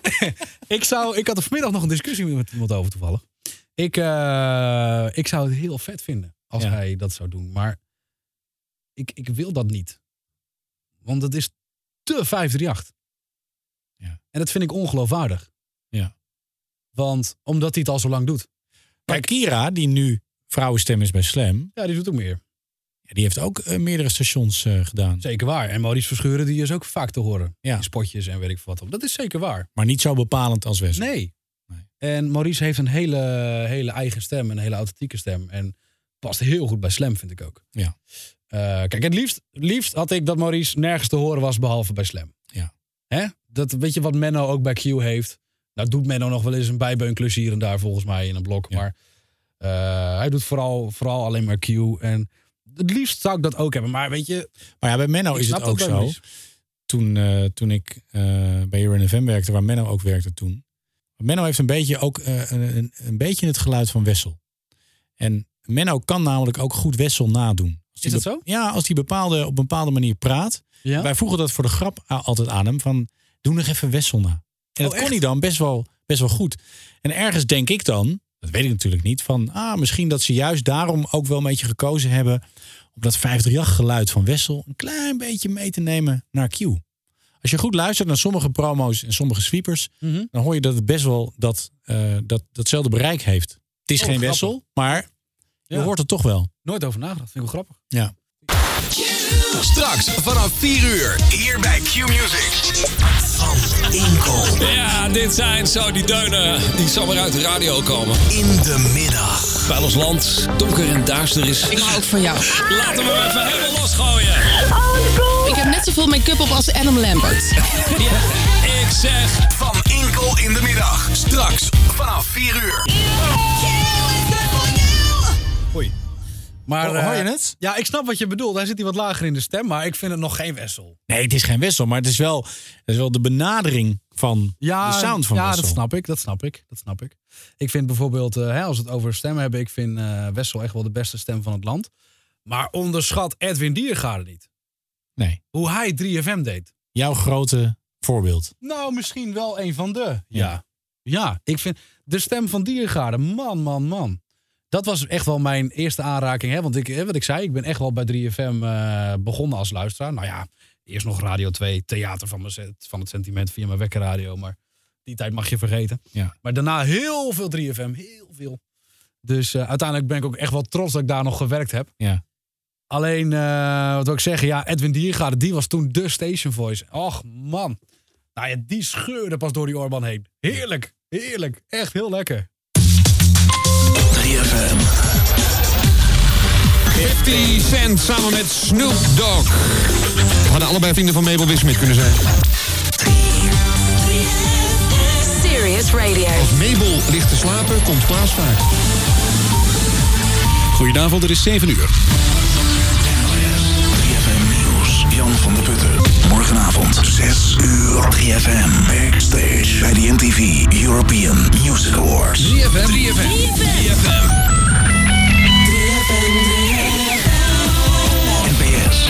Speaker 4: ik, zou, ik had er vanmiddag nog een discussie met iemand over toevallig. Ik, eh, ik zou het heel vet vinden als
Speaker 3: Ja.
Speaker 4: hij dat zou doen. Maar ik, ik wil dat niet. Want het is te 538.
Speaker 3: Ja.
Speaker 4: En dat vind ik ongeloofwaardig.
Speaker 3: Ja.
Speaker 4: Want omdat hij het al zo lang doet.
Speaker 3: Kijk, Kira, die nu vrouwenstem is bij Slam,
Speaker 4: Ja, die doet ook meer.
Speaker 3: ja, die heeft ook eh, meerdere stations eh, gedaan.
Speaker 4: Zeker waar. En Maurice Verschuren die is ook vaak te horen.
Speaker 3: Ja.
Speaker 4: In spotjes en weet ik veel wat. Dat is zeker waar.
Speaker 3: Maar niet zo bepalend als Wessel.
Speaker 4: Nee.
Speaker 3: Nee.
Speaker 4: En Maurice heeft een hele, hele eigen stem. Een hele authentieke stem. En past heel goed bij Slam, vind ik ook.
Speaker 3: Ja.
Speaker 4: Eh, kijk, het liefst, liefst had ik dat Maurice nergens te horen was behalve bij Slam.
Speaker 3: Ja.
Speaker 4: Hè? Dat weet je wat Menno ook bij Q heeft. Nou doet Menno nog wel eens een bijbeunklus hier en daar volgens mij in een blok.
Speaker 3: Ja.
Speaker 4: Maar eh, hij doet vooral, vooral alleen maar Q. En het liefst zou ik dat ook hebben. Maar weet je,
Speaker 3: Maar ja, bij Menno
Speaker 4: ik
Speaker 3: Oh, is het
Speaker 4: snap dat
Speaker 3: ook
Speaker 4: bij
Speaker 3: zo.
Speaker 4: Maurice.
Speaker 3: Toen, eh, toen ik eh, bij UNFM werkte, waar Menno ook werkte toen. Menno heeft een beetje, ook, eh, een, een, een beetje het geluid van Wessel. En Menno kan namelijk ook goed Wessel nadoen. Als die
Speaker 4: Is dat
Speaker 3: be-
Speaker 4: zo?
Speaker 3: Ja, als hij bepaalde, op een bepaalde manier praat.
Speaker 4: Ja?
Speaker 3: Wij vroegen dat voor de grap a- altijd aan hem. Van, doe nog even Wessel na. En dat
Speaker 4: Oh,
Speaker 3: kon
Speaker 4: echt?
Speaker 3: hij dan best wel, best wel goed. En ergens denk ik dan, dat weet ik natuurlijk niet. Van, ah, misschien dat ze juist daarom ook wel een beetje gekozen hebben. Om dat 538 geluid van Wessel een klein beetje mee te nemen naar Q. Als je goed luistert naar sommige promo's en sommige sweepers.
Speaker 4: Mhm.
Speaker 3: Dan hoor je dat het best wel dat, eh, dat, datzelfde bereik heeft. Het is
Speaker 4: Oh,
Speaker 3: geen
Speaker 4: grappig.
Speaker 3: Wessel, maar je
Speaker 4: Ja.
Speaker 3: hoort het toch wel.
Speaker 4: Nooit over nagedacht. Vind ik wel grappig.
Speaker 3: Ja.
Speaker 2: Straks vanaf 4 uur.
Speaker 7: Hier bij Q-Music.
Speaker 8: Van Inkel
Speaker 2: Ja, dit zijn zo die deunen die zomaar uit de radio komen.
Speaker 8: in de middag.
Speaker 2: Bij ons land donker en duister is.
Speaker 9: Ik hou ook van jou.
Speaker 2: Laten we hem even helemaal losgooien.
Speaker 9: Ik heb net zoveel make-up op als Adam Lambert.
Speaker 2: Ik zeg
Speaker 8: Van Inkel in de middag. Straks vanaf 4 uur.
Speaker 4: Oei. Maar,
Speaker 3: Ho- hoor je
Speaker 4: eh,
Speaker 3: het?
Speaker 4: Ja, ik snap wat je bedoelt. Hij zit hier wat lager in de stem, maar ik vind het nog geen wessel.
Speaker 3: Nee, het is geen Wessel, maar het is wel, het is wel de benadering van de sound van
Speaker 4: ja
Speaker 3: Wessel.
Speaker 4: dat snap ik. Dat snap ik. Dat snap ik. Ik vind bijvoorbeeld, eh, hè, als we het over stemmen hebben, ik vind eh, Wessel echt wel de beste stem van het land. Maar onderschat Edwin Diergaarde niet.
Speaker 3: Nee,
Speaker 4: Hoe hij 3FM deed.
Speaker 3: jouw grote voorbeeld.
Speaker 4: Nou, misschien wel een van de. Ja.
Speaker 3: Ja.
Speaker 4: ja. ik vind de stem van Diergaarde, man, man, man. Dat was echt wel mijn eerste aanraking. Hè? Want ik, hè, wat ik zei, ik ben echt wel bij 3FM eh, begonnen als luisteraar. Nou ja, eerst nog Radio 2, Theater van, mijn se- van het Sentiment via mijn wekkerradio. Maar die tijd mag je vergeten.
Speaker 3: Ja.
Speaker 4: Maar daarna heel veel 3FM, heel veel. Dus eh, uiteindelijk ben ik ook echt wel trots dat ik daar nog gewerkt heb.
Speaker 3: Ja.
Speaker 4: Alleen, eh, wat wil ik zeggen? Ja, Edwin Diergaarde, die was toen de station voice. Och, man. Nou ja, die scheurde pas door die oorband heen. Heerlijk, heerlijk. Echt heel lekker.
Speaker 8: 3FM.
Speaker 10: 50 Cent samen met Snoop Dogg. We hadden allebei vrienden van Mabel Wismit kunnen zijn.
Speaker 9: Serious Radio.
Speaker 10: Als Mabel ligt te slapen, komt Klaas vaak.
Speaker 2: Goedenavond, er is 7 uur.
Speaker 8: 3FM Nieuws. Jan van der Putten. Morgenavond 6 uur. 3FM. Backstage bij de MTV European Music Awards.
Speaker 2: 3FM. 3FM.
Speaker 8: NPS.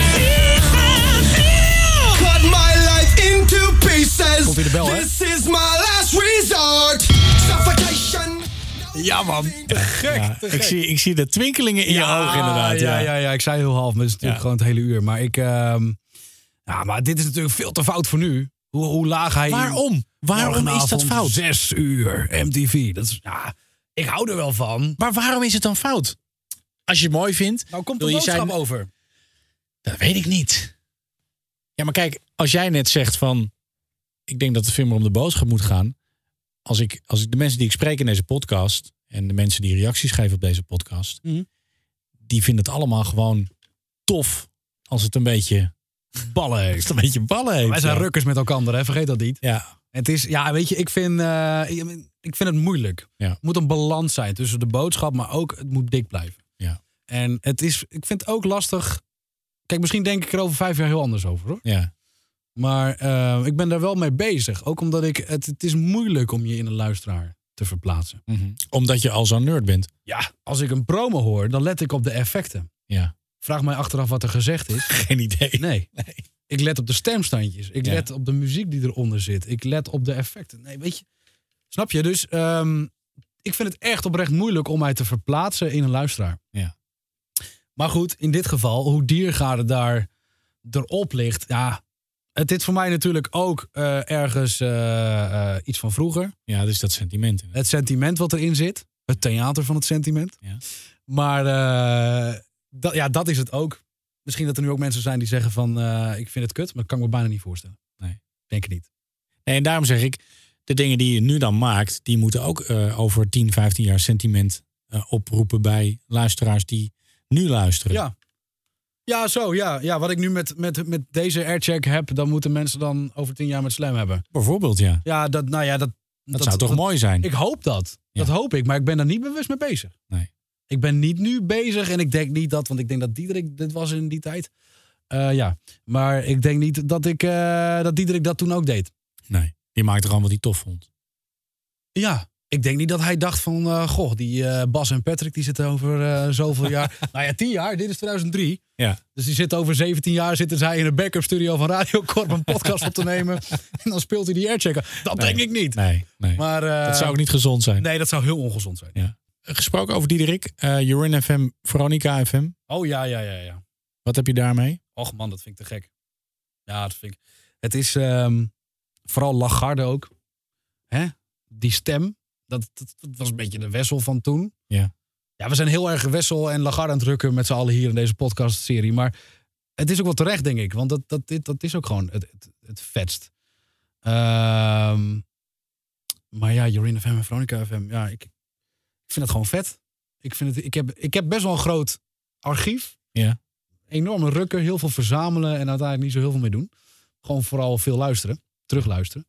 Speaker 11: Cut my life into pieces.
Speaker 4: Komt ie de bel, hè?
Speaker 11: This is my last resort. Suffocation.
Speaker 4: Ja, man. Te gek, te gek.
Speaker 3: ik, zie, ik zie de twinkelingen in je ogen inderdaad. Ja,
Speaker 4: Ja, ja, ja, ik zei heel half, maar het is natuurlijk
Speaker 3: Ja.
Speaker 4: gewoon het hele uur. Maar ik... ehm, ja, maar dit is natuurlijk veel te fout voor nu. Hoe, hoe laag hij...
Speaker 3: Waarom? Waarom is dat
Speaker 4: Morgenavond
Speaker 3: fout?
Speaker 4: Zes uur, MTV. Dat is, ja, ik hou er wel van.
Speaker 3: Maar waarom is het dan fout? Als je het mooi vindt.
Speaker 4: Nou komt de
Speaker 3: wil je
Speaker 4: boodschap
Speaker 3: zijn-
Speaker 4: over.
Speaker 3: Dat weet ik niet. Ja, maar kijk, als jij net zegt van... Ik denk dat de film er om de boodschap moet gaan. Als ik, als ik de mensen die ik spreek in deze podcast... en de mensen die reacties geven op deze podcast, die vinden het allemaal gewoon tof als het een beetje ballen heeft. Als het een beetje ballen heeft.
Speaker 4: Wij zijn
Speaker 3: ja.
Speaker 4: rukkers met elkaar, hè? vergeet dat niet.
Speaker 3: Ja.
Speaker 4: Het is, ja, weet je, ik vind, eh, ik- ik vind het moeilijk.
Speaker 3: Ja.
Speaker 4: Het moet een balans zijn tussen de boodschap, maar ook het moet dik blijven.
Speaker 3: Ja.
Speaker 4: En het is, ik vind het ook lastig. Kijk, misschien denk ik er over vijf jaar heel anders over, hoor.
Speaker 3: Ja.
Speaker 4: Maar eh, ik ben daar wel mee bezig. Ook omdat ik, het, het is moeilijk om je in een luisteraar te verplaatsen.
Speaker 3: Mhm. Omdat je al zo'n nerd bent.
Speaker 4: Ja, als ik een promo hoor, dan let ik op de effecten.
Speaker 3: Ja.
Speaker 4: Vraag mij achteraf wat er gezegd is.
Speaker 3: Geen idee.
Speaker 4: Nee. Ik let op de stemstandjes. Ik
Speaker 3: Ja.
Speaker 4: let op de muziek die eronder zit. Ik let op de effecten. Nee, weet je. Snap je? Dus ehm, ik vind het echt oprecht moeilijk om mij te verplaatsen in een luisteraar.
Speaker 3: Ja.
Speaker 4: Maar goed, in dit geval, hoe diergaarde daar erop ligt. Ja, het is voor mij natuurlijk ook eh, ergens eh, eh, iets van vroeger.
Speaker 3: Ja, dus dat sentiment. inderdaad.
Speaker 4: Het sentiment wat erin zit. Het theater van het sentiment.
Speaker 3: Ja.
Speaker 4: Maar eh, dat, ja, dat is het ook. Misschien dat er nu ook mensen zijn die zeggen van... eh, ik vind het kut, maar dat kan ik me bijna niet voorstellen.
Speaker 3: Nee.
Speaker 4: Denk ik niet.
Speaker 3: Nee, en daarom zeg ik, de dingen die je nu dan maakt, die moeten ook eh, over 10, 15 jaar sentiment eh, oproepen bij luisteraars die nu luisteren.
Speaker 4: Ja. Ja, zo. Ja, ja wat ik nu met, met, met deze aircheck heb... dan moeten mensen dan over tien jaar met slam hebben.
Speaker 3: Bijvoorbeeld, ja.
Speaker 4: Ja, dat, nou ja, dat...
Speaker 3: Dat, zou toch mooi zijn?
Speaker 4: Ik hoop dat. Dat hoop ik, maar ik ben daar niet bewust mee bezig.
Speaker 3: Nee.
Speaker 4: Ik ben niet nu bezig en ik denk niet dat, want ik denk dat Diederik dit was in die tijd. Eh, ja, maar ik denk niet dat, ik, eh, dat Diederik dat toen ook deed.
Speaker 3: Nee, die maakt er gewoon wat hij tof vond.
Speaker 4: Ja, ik denk niet dat hij dacht van, eh, goh, die eh, Bas en Patrick die zitten over eh, zoveel jaar. Nou ja, tien jaar, dit is 2003.
Speaker 3: Ja.
Speaker 4: Dus die zitten over 17 jaar zitten zij in een backup studio van Radio Corp een podcast op te nemen. En dan speelt hij die airchecker. Dat denk ik niet.
Speaker 3: Nee, nee.
Speaker 4: Maar, eh,
Speaker 3: dat zou ook niet gezond zijn.
Speaker 4: Nee, dat zou heel ongezond zijn.
Speaker 3: Ja. Gesproken over Diederik, eh Jorin FM, Veronica FM.
Speaker 4: Oh ja, ja, ja, ja.
Speaker 3: Wat heb je daarmee?
Speaker 4: Och man, dat vind ik te gek. Ja, dat vind ik. Het is ehm, vooral Lagarde ook. Hè? Die stem. Dat, dat, dat was een beetje de wessel van toen.
Speaker 3: Ja.
Speaker 4: Ja, we zijn heel erg wessel en Lagarde aan het drukken met z'n allen hier in deze podcastserie. Maar het is ook wel terecht, denk ik. Want dat, dat, dit, dat is ook gewoon het, het, het vetst. Ehm, maar ja, Jorin FM en Veronica FM. Ja, ik, ik vind het gewoon vet. Ik, vind het, ik, heb, ik heb best wel een groot archief
Speaker 3: Ja.
Speaker 4: enorme rukken, heel veel verzamelen en uiteindelijk niet zo heel veel mee doen. Gewoon vooral veel luisteren, terugluisteren.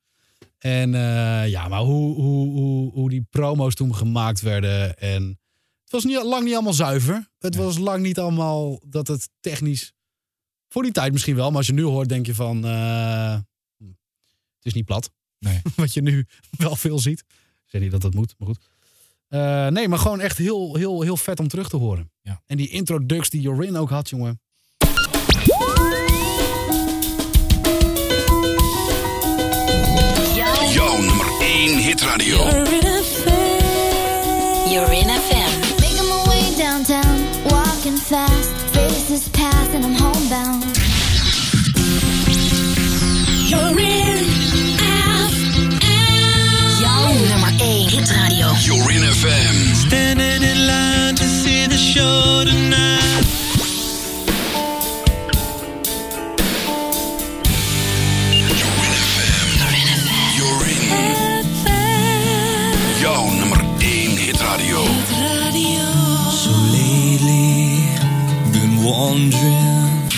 Speaker 4: En eh, ja, maar hoe, hoe, hoe, hoe die promo's toen gemaakt werden. En het was niet, lang niet allemaal zuiver. Het was lang niet allemaal dat het technisch. Voor die tijd misschien wel, maar als je nu hoort, denk je van. eh, hm, het is niet plat.
Speaker 3: Nee.
Speaker 4: Wat je nu wel veel ziet. Ik zeg niet dat dat moet, maar goed. Eh, nee, maar gewoon echt heel, heel, heel vet om terug te horen.
Speaker 3: Ja.
Speaker 4: En die introducts die Jorin ook had, jongen.
Speaker 7: Jouw nummer 1 hitradio.
Speaker 5: You're in FM.
Speaker 12: Making my way downtown, walking fast. Faces pass and I'm homebound. You're in
Speaker 5: Jouw nummer 1 hitradio.
Speaker 7: You're in FM.
Speaker 13: Standing in line to see the show tonight.
Speaker 7: You're in. Jouw nummer 1 hitradio.
Speaker 13: So lately, been wondering.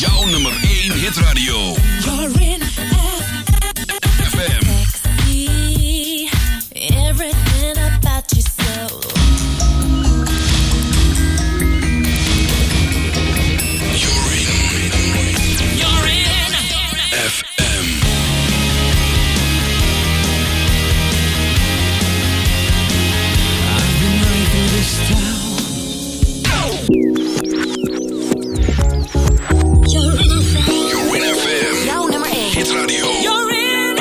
Speaker 7: Jouw nummer 1 hitradio.
Speaker 12: You're in
Speaker 7: FM.
Speaker 12: me. Everything about you so.
Speaker 7: FM.
Speaker 13: I've been running through this town.
Speaker 7: You're in FM.
Speaker 5: Jouw nummer 1.
Speaker 7: Hitradio.
Speaker 5: You're in.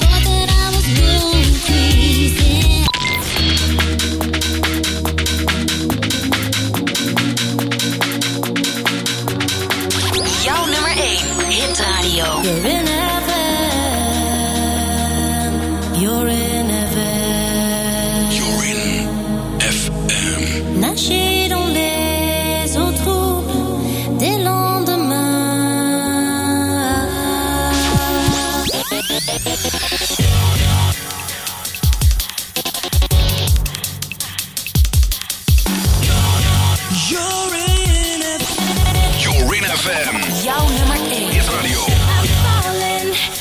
Speaker 12: Thought that I was going crazy.
Speaker 5: Jouw nummer 1 hitradio.
Speaker 12: You're in heaven. You're in heaven.
Speaker 7: You're in FM.
Speaker 12: Now she don't live.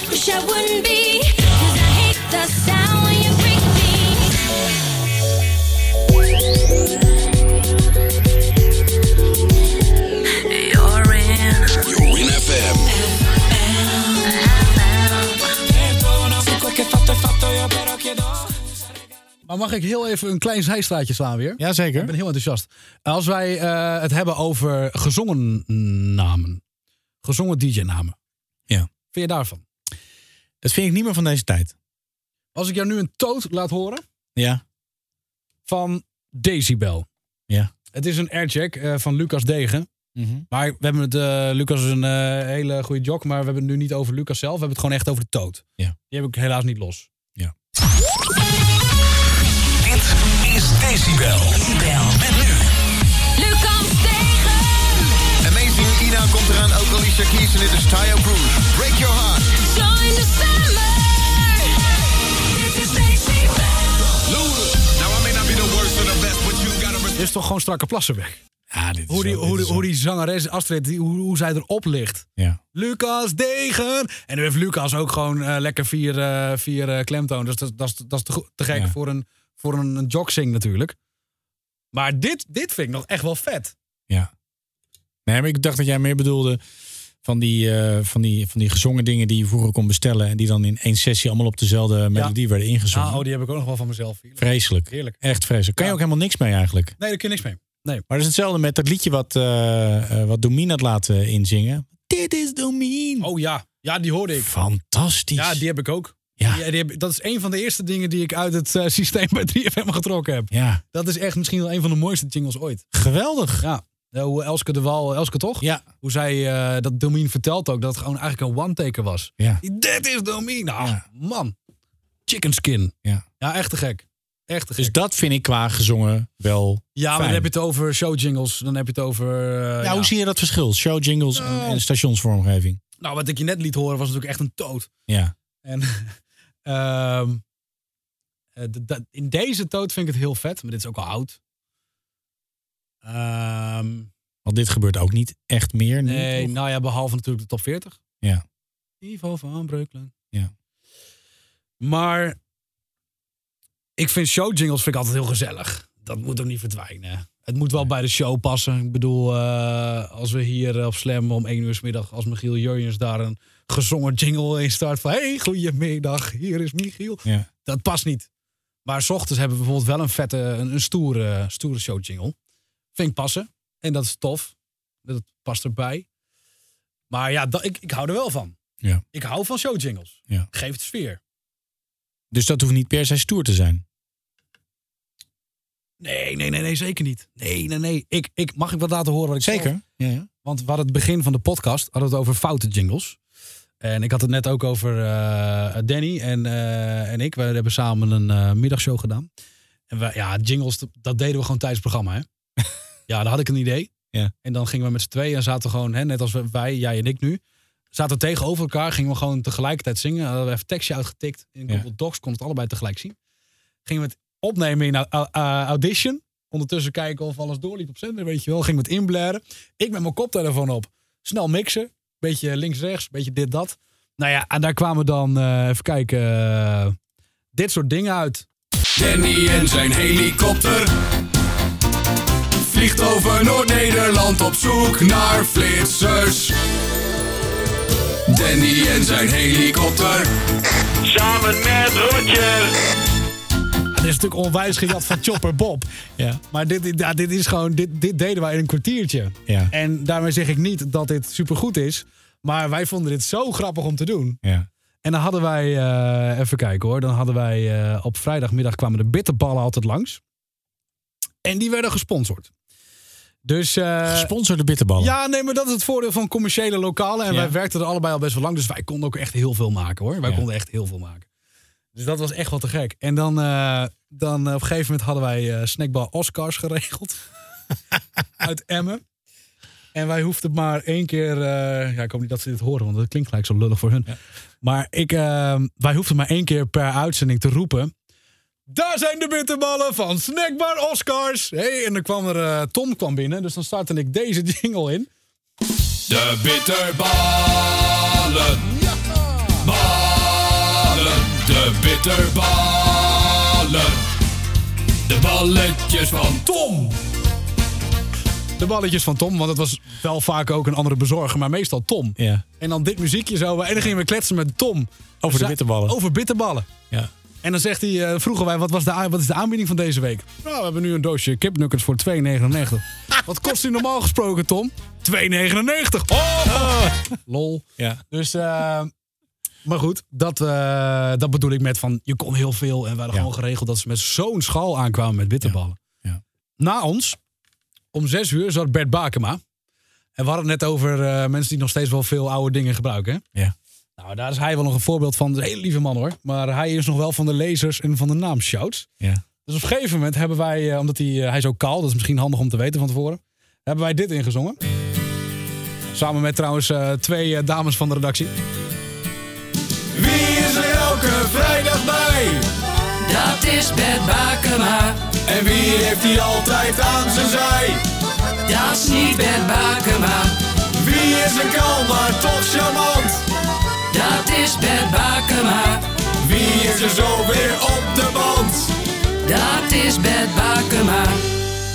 Speaker 14: wish I wouldn't be. Cause I hate the sound when you bring me. You're in.
Speaker 7: Win FM.
Speaker 4: Maar mag ik heel even een klein zijstraatje slaan weer?
Speaker 3: Jazeker.
Speaker 4: Ik ben heel enthousiast. Als wij eh, het hebben over gezongen namen. Gezongen DJ-namen.
Speaker 3: Ja. Vind
Speaker 4: je daarvan?
Speaker 3: Dat vind ik niet meer van deze tijd.
Speaker 4: Als ik jou nu een toot laat horen
Speaker 3: Ja.
Speaker 4: van Decibel.
Speaker 3: Ja. Mhm.
Speaker 4: Het is een aircheck eh, van Lucas Degen. Maar we hebben het, eh, Lucas is een eh, hele goede jok, maar we hebben het nu niet over Lucas zelf. We hebben het gewoon echt over de toot.
Speaker 3: Ja.
Speaker 4: Die heb ik helaas niet los.
Speaker 3: Ja.
Speaker 7: Dit is Decibel. Met nu.
Speaker 14: Lucas tegen.
Speaker 7: Amazing Ina komt eraan, ook Alicia Keys en dit is Tayo Cruz. Break your heart.
Speaker 14: Join the summer. This is
Speaker 7: Luda. Now I may not be the worst or the best, but you gotta
Speaker 4: Dit is toch gewoon strakke plassenweg.
Speaker 3: Ja, dit is
Speaker 4: hoe, die,
Speaker 3: wel- dit is
Speaker 4: hoe, die,
Speaker 3: wel-
Speaker 4: hoe die zangeres Astrid, die- hoe, hoe zij erop ligt.
Speaker 3: Ja.
Speaker 4: Lucas Degen! En nu heeft Lucas ook gewoon eh, lekker vier, eh, vier eh, klemtoon. Dus dat, dat, is- dat is te, go- te gek voor een, voor een, een jogsing natuurlijk. Maar dit, dit vind ik nog echt wel vet.
Speaker 3: Nee, maar ik dacht dat jij meer bedoelde van die, eh, van die, van die gezongen dingen die je vroeger kon bestellen. En die dan in één sessie allemaal op dezelfde melodie werden ingezongen.
Speaker 4: Ah, oh, die heb ik ook nog wel van mezelf.
Speaker 3: Vreselijk.
Speaker 4: Heerlijk.
Speaker 3: Echt vreselijk. Kan je ook helemaal niks mee eigenlijk.
Speaker 4: Nee, daar kun je niks mee. Nee.
Speaker 3: Maar dat is hetzelfde met dat liedje wat, eh eh, wat Domien had laten inzingen. Dit is Domien.
Speaker 4: Oh ja, ja die hoorde ik.
Speaker 3: Fantastisch.
Speaker 4: Ja, die heb ik ook.
Speaker 3: Ja.
Speaker 4: die heb, dat is een van de eerste dingen die ik uit het eh, systeem bij 3FM getrokken heb.
Speaker 3: Ja.
Speaker 4: Dat is echt misschien wel een van de mooiste jingles ooit.
Speaker 3: Geweldig.
Speaker 4: Ja. Eh, Hoe Elske de Wal, Elske toch?
Speaker 3: Ja.
Speaker 4: Hoe zij eh, dat Domien vertelt ook, dat het gewoon eigenlijk een one-taker was.
Speaker 3: Ja.
Speaker 4: Dit is Domien! Nou, man. Chicken skin.
Speaker 3: Ja.
Speaker 4: Ja, echt te gek. Echt te gek.
Speaker 3: Dus dat vind ik qua gezongen wel
Speaker 4: ja, maar
Speaker 3: fijn.
Speaker 4: dan heb je het over show jingles. Dan heb je het over... eh,
Speaker 3: ja, hoe zie je dat verschil? Show jingles en, en stationsvormgeving.
Speaker 4: Nou, wat ik je net liet horen was natuurlijk echt een toot.
Speaker 3: Ja.
Speaker 4: En ehm, eh, de- dat- in deze toot vind ik het heel vet, maar dit is ook al oud. Ehm,
Speaker 3: Want dit gebeurt ook niet echt meer nu.
Speaker 4: nee,
Speaker 3: toch?
Speaker 4: nou ja, behalve natuurlijk de top 40.
Speaker 3: Ja.
Speaker 4: Ivo van Breukelen.
Speaker 3: Ja.
Speaker 4: Maar ik vind show jingles vind ik altijd heel gezellig. Dat moet ook niet verdwijnen. Het moet wel bij de show passen. Ik bedoel, eh, als we hier op Slam om 1 uur 's middag, als Michiel Jurjens daar een gezongen jingle in start van hey, goedemiddag, hier is Michiel.
Speaker 3: Ja.
Speaker 4: Dat past niet. Maar s ochtends hebben we bijvoorbeeld wel een vette, een, een stoere, stoere show jingle. Vind ik passen. En dat is tof. Dat past erbij. Maar ja, dat, ik, ik hou er wel van.
Speaker 3: Ja.
Speaker 4: Ik hou van show jingles.
Speaker 3: Ja.
Speaker 4: Geeft sfeer.
Speaker 3: Dus dat hoeft niet per se stoer te zijn.
Speaker 4: Nee, nee, nee, nee, zeker niet. Nee, nee, nee. Ik, ik, mag ik wat laten horen wat ik
Speaker 3: Zeker.
Speaker 4: zelf-
Speaker 3: Ja, ja.
Speaker 4: Want we hadden het begin van de podcast hadden we het over foute jingles. En ik had het net ook over eh, Danny en, eh, en ik. We hebben samen een eh, middagshow gedaan. En we, ja, jingles, dat deden we gewoon tijdens het programma, hè? ja, dan had ik een idee.
Speaker 3: Ja.
Speaker 4: En dan gingen we met z'n tweeën en zaten we gewoon, hè, net als we- wij, jij en ik nu, zaten tegenover elkaar, gingen we gewoon tegelijkertijd zingen. Hadden we even tekstje uitgetikt. In
Speaker 3: Ja.
Speaker 4: Google Docs kon het allebei tegelijk zien. Gingen we het opnemen in au- au- eh, Audition. Ondertussen kijken of alles doorliep op zender, weet je wel. Gingen we het inblaren. Ik met mijn koptelefoon op. Snel mixen. Beetje links-rechts, beetje dit, dat. Nou ja, en daar kwamen dan, eh, even kijken, eh, dit soort dingen uit.
Speaker 7: Danny en zijn helikopter vliegt over Noord-Nederland op zoek naar flitsers. Danny en zijn helikopter. Samen met Roger.
Speaker 4: Ja, dit is natuurlijk onwijs gejat van Chopper Bob.
Speaker 3: Ja.
Speaker 4: Maar dit, ja, dit is gewoon, dit, dit deden wij in een kwartiertje.
Speaker 3: Ja.
Speaker 4: En daarmee zeg ik niet dat dit supergoed is. Maar wij vonden dit zo grappig om te doen.
Speaker 3: Ja.
Speaker 4: En dan hadden wij, eh, even kijken hoor. Dan hadden wij eh, op vrijdagmiddag kwamen de bitterballen altijd langs. En die werden gesponsord. Dus, eh,
Speaker 3: Gesponsorde bitterballen.
Speaker 4: ja, nee, maar dat is het voordeel van commerciële lokalen. En
Speaker 3: Oh. Ja.
Speaker 4: wij werkten er allebei al best wel lang. Dus wij konden ook echt heel veel maken hoor. Wij
Speaker 3: Ja.
Speaker 4: konden echt heel veel maken. Dus dat was echt wel te gek. En dan, eh, dan eh, op een gegeven moment hadden wij eh snackbar Oscars geregeld. Uit Emmen. En wij hoefden maar één keer... eh, ja, ik hoop niet dat ze dit horen, want dat klinkt gelijk zo lullig voor hun. Maar ik, eh, wij hoefden maar één keer per uitzending te roepen... Daar zijn de bitterballen van Snackbar Oscars. Hey, en dan kwam er eh, Tom kwam binnen, dus dan startte ik deze jingle in.
Speaker 7: De bitterballen. Ballen.
Speaker 15: de bitterballen. De balletjes van Tom.
Speaker 4: De balletjes van Tom, want het was wel vaak ook een andere bezorger, maar meestal Tom.
Speaker 3: Ja.
Speaker 4: En dan dit muziekje zo. En dan gingen we kletsen met Tom.
Speaker 3: Over de
Speaker 4: Zij-
Speaker 3: bitterballen.
Speaker 4: Over bitterballen.
Speaker 3: Ja.
Speaker 4: En dan zegt hij, eh, vroegen wij, wat, was de, a- wat is de aanbieding van deze week? Nou, we hebben nu een doosje kipnuggets voor 2,99. wat kost die normaal gesproken, Tom? 2,99. Oh! Lol.
Speaker 3: Ja.
Speaker 4: Dus, eh, maar goed, dat, eh, dat bedoel ik met van, je kon heel veel. En we hadden gewoon geregeld dat ze met zo'n schaal aankwamen met bitterballen. Na ons, om zes uur, zat Bert Bakema. En we hadden het net over eh, mensen die nog steeds wel veel oude dingen gebruiken. hè?
Speaker 3: Ja.
Speaker 4: Nou, daar is hij wel nog een voorbeeld van. Dat is een hele lieve man hoor. Maar hij is nog wel van de lezers en van de naam Shout.
Speaker 3: Ja.
Speaker 4: Dus op een gegeven moment hebben wij, eh, omdat hij, eh, hij is ook kaal, dat is misschien handig om te weten van tevoren, hebben wij dit ingezongen. Samen met trouwens eh, twee eh, dames van de redactie.
Speaker 15: Wie is er elke vrijdag bij?
Speaker 13: Dat is Bert Bakema.
Speaker 15: En wie heeft hij altijd aan zijn zij?
Speaker 13: Dat is niet Bert Bakema.
Speaker 15: Wie is een kalm maar toch charmant?
Speaker 13: Dat is Bert Bakema.
Speaker 15: Wie is er zo weer op de band?
Speaker 13: Dat is Bert Bakema.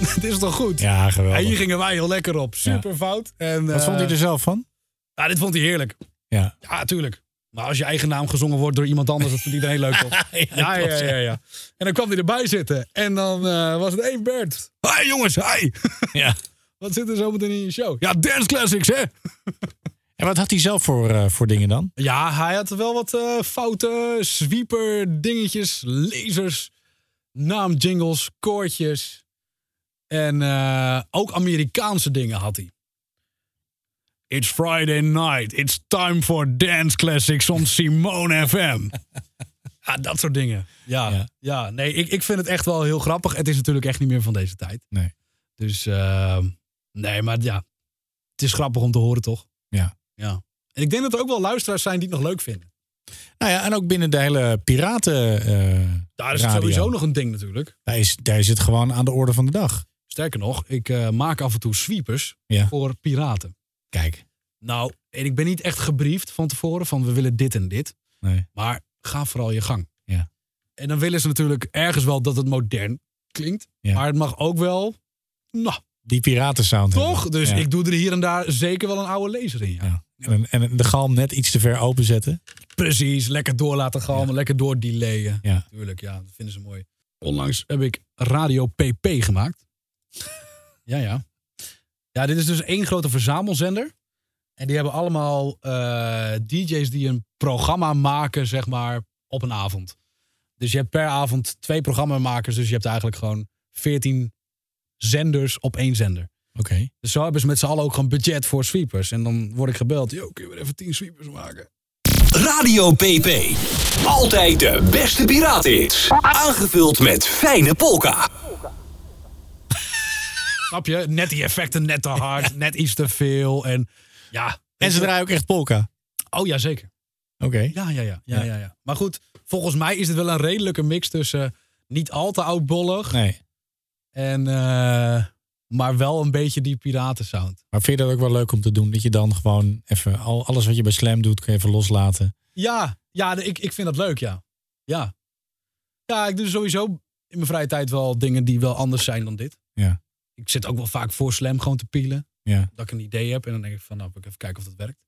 Speaker 4: Het is toch goed?
Speaker 3: Ja, geweldig.
Speaker 4: En hier gingen wij heel lekker op. Super fout. En, eh,
Speaker 3: Wat vond hij er zelf van?
Speaker 4: Ja, dit vond hij heerlijk.
Speaker 3: Ja.
Speaker 4: Ja, tuurlijk. Maar als je eigen naam gezongen wordt door iemand anders, dat vindt iedereen leuk toch? ja, ja, ja, ja, ja. En dan kwam hij erbij zitten. En dan eh, was het, hey Bert. Hey jongens, hey.
Speaker 3: Ja.
Speaker 4: Wat zit er zo meteen in je show? Ja, Dance Classics, hè?
Speaker 3: En wat had hij zelf voor, eh, voor dingen dan?
Speaker 4: Ja, hij had wel wat eh foute sweeper dingetjes, lasers, naamjingles, koortjes. En eh, ook Amerikaanse dingen had hij. It's Friday night. It's time for dance classics on Simone FM. ja, dat soort dingen. Ja, ja. nee, ik, ik vind het echt wel heel grappig. Het is natuurlijk echt niet meer van deze tijd.
Speaker 3: Nee.
Speaker 4: Dus, eh, nee, maar ja. Het is grappig om te horen, toch?
Speaker 3: Ja.
Speaker 4: Ja. En ik denk dat er ook wel luisteraars zijn die het nog leuk vinden.
Speaker 3: Nou ja, en ook binnen de hele piraten. eh,
Speaker 4: Daar is het
Speaker 3: radio.
Speaker 4: sowieso nog een ding natuurlijk.
Speaker 3: Daar is, daar is het gewoon aan de orde van de dag.
Speaker 4: Sterker nog, ik eh, maak af en toe sweepers
Speaker 3: Ja.
Speaker 4: voor piraten.
Speaker 3: Kijk.
Speaker 4: Nou, en ik ben niet echt gebriefd van tevoren van we willen dit en dit.
Speaker 3: Nee.
Speaker 4: Maar ga vooral je gang.
Speaker 3: Ja.
Speaker 4: En dan willen ze natuurlijk ergens wel dat het modern klinkt.
Speaker 3: Ja.
Speaker 4: Maar het mag ook wel, nou,
Speaker 3: Die piratensound.
Speaker 4: toch?
Speaker 3: hebben.
Speaker 4: Dus
Speaker 3: Ja.
Speaker 4: ik doe er hier en daar zeker wel een oude lezer in. Ja.
Speaker 3: En, en de galm net iets te ver openzetten.
Speaker 4: Precies, lekker door laten galmen, lekker doordelayen.
Speaker 3: Ja.
Speaker 4: Tuurlijk, ja, dat vinden ze mooi. Onlangs heb ik Radio PP gemaakt. ja, ja. Ja, dit is dus één grote verzamelzender. En die hebben allemaal eh, DJ's die een programma maken, zeg maar, op een avond. Dus je hebt per avond twee programmamakers. Dus je hebt eigenlijk gewoon veertien zenders op één zender.
Speaker 3: Oké.
Speaker 4: Dus zo hebben ze met z'n allen ook gewoon budget voor sweepers. En dan word ik gebeld. Yo, kun je weer even tien sweepers maken?
Speaker 2: Radio PP. Altijd de beste piratenhits. Aangevuld met fijne polka.
Speaker 4: Snap je? Net die effecten net te hard, net iets te veel. En ja.
Speaker 3: En ze draaien ook echt polka.
Speaker 4: Oh ja, zeker.
Speaker 3: Oké.
Speaker 4: Ja, ja, ja, ja, ja, ja. Maar goed, volgens mij is het wel een redelijke mix tussen eh, niet al te oudbollig
Speaker 3: Nee.
Speaker 4: en. eh, maar wel een beetje die piratensound.
Speaker 3: Maar vind je dat ook wel leuk om te doen? Dat je dan gewoon even al, alles wat je bij Slam doet, kun je even loslaten.
Speaker 4: Ja, ja de- ik, ik vind dat leuk, ja. Ja. Ja, ik doe sowieso in mijn vrije tijd wel dingen die wel anders zijn dan dit.
Speaker 3: Ja.
Speaker 4: Ik zit ook wel vaak voor slam gewoon te pielen.
Speaker 3: Ja.
Speaker 4: Dat ik een idee heb en dan denk ik van, nou, ik even kijken of dat werkt.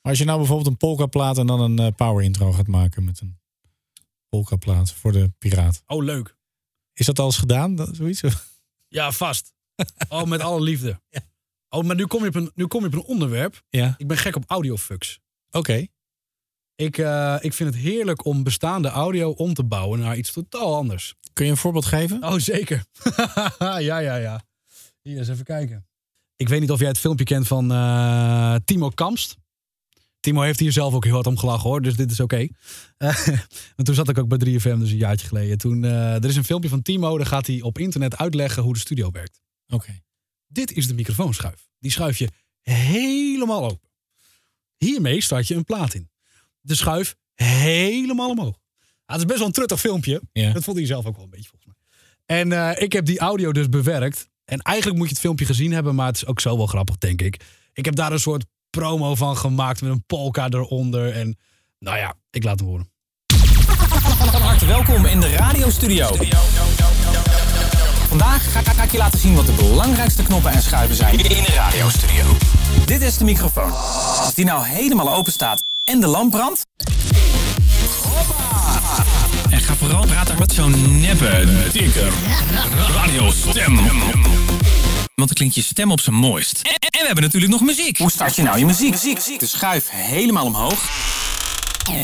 Speaker 3: Maar als je nou bijvoorbeeld een polka plaat en dan een eh, power intro gaat maken met een polka plaat voor de piraat.
Speaker 4: Oh, leuk.
Speaker 3: Is dat al eens gedaan? Dat, zoiets?
Speaker 4: Ja, vast. Oh, met alle liefde. Oh, maar nu kom, je op een, nu kom je op een onderwerp.
Speaker 3: Ja.
Speaker 4: Ik ben gek op audiofucks.
Speaker 3: Oké.
Speaker 4: Ik, eh, ik vind het heerlijk om bestaande audio om te bouwen naar iets totaal anders.
Speaker 3: Kun je een voorbeeld geven?
Speaker 4: Oh, zeker. ja, ja, ja. Hier eens even kijken. Ik weet niet of jij het filmpje kent van eh, Timo Kamst. Timo heeft hier zelf ook heel hard om gelachen hoor, dus dit is oké. Eh, want toen zat ik ook bij 3FM, dus een jaartje geleden. Toen, eh, er is een filmpje van Timo, daar gaat hij op internet uitleggen hoe de studio werkt.
Speaker 3: Oké.
Speaker 4: Dit is de microfoonschuif. Die schuif je helemaal open. Hiermee start je een plaat in. De schuif helemaal omhoog. Ah, het is best wel een truttig filmpje.
Speaker 3: Ja.
Speaker 4: Dat vond hij zelf ook wel een beetje volgens mij. En eh, ik heb die audio dus bewerkt. En eigenlijk moet je het filmpje gezien hebben, maar het is ook zo wel grappig, denk ik. Ik heb daar een soort promo van gemaakt met een polka eronder. En nou ja, ik laat hem horen.
Speaker 16: harte welkom in de radiostudio. Vandaag ga, ga- ga ik je laten zien wat de belangrijkste knoppen en schuiven zijn in de radiostudio. Dit is de microfoon. Als die nou helemaal open staat en de lamp brandt... Hoppa! En ga vooral praten met zo'n neppe, dikke radiostem. Want dan klinkt je stem op zijn mooist. En, en we hebben natuurlijk nog muziek. Hoe start je nou je muziek? De schuif helemaal omhoog.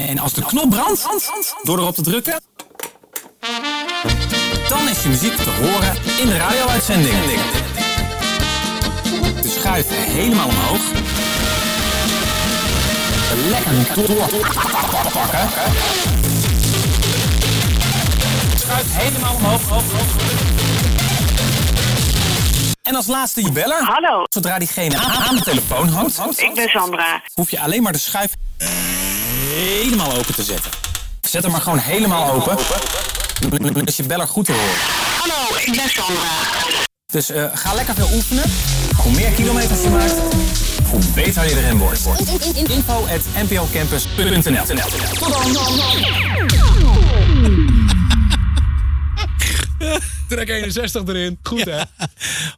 Speaker 16: En als de knop brandt, door erop te drukken... dan is je muziek te horen in de radio-uitzending. De schuif helemaal omhoog. Lekker doorpakken. Schuif helemaal omhoog, omhoog, omhoog. En als laatste je beller. Hallo. Zodra diegene aan aan de telefoon hangt,
Speaker 17: Ik ben Sandra.
Speaker 16: hoef je alleen maar de schuif helemaal open te zetten. Zet hem maar gewoon helemaal open. Dan is je beller goed te horen.
Speaker 17: Hallo, ik ben Sandra.
Speaker 16: Dus eh, ga lekker veel oefenen. Hoe meer kilometers je maakt, hoe beter je erin wordt. Info at nplcampus.nl Tot dan!
Speaker 4: Trek 61 erin. Goed hè?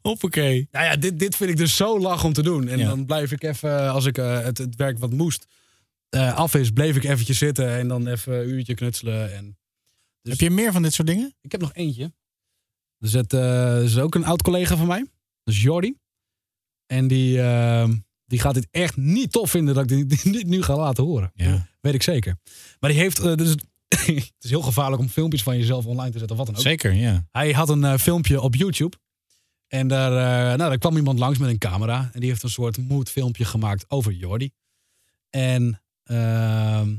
Speaker 3: Hoppakee.
Speaker 4: Nou ja, dit, dit vind ik dus zo lach om te doen. En dan blijf ik even, als ik eh, het, het werk wat moest eh, af is, bleef ik eventjes zitten. En dan even een uurtje knutselen. En Dus-
Speaker 3: Heb je meer van dit soort dingen?
Speaker 4: Ik heb nog eentje. Dus het eh, is ook een oud collega van mij. Dat is Jordi. En die, eh, die gaat dit echt niet tof vinden dat ik dit, dit nu ga laten horen.
Speaker 3: Ja.
Speaker 4: Weet ik zeker. Maar die heeft. eh, dus het, het is heel gevaarlijk om filmpjes van jezelf online te zetten of wat dan ook.
Speaker 3: Zeker, ja.
Speaker 4: Hij had een eh, filmpje op YouTube. En daar, eh, nou, daar kwam iemand langs met een camera. En die heeft een soort moedfilmpje gemaakt over Jordi. En ehm,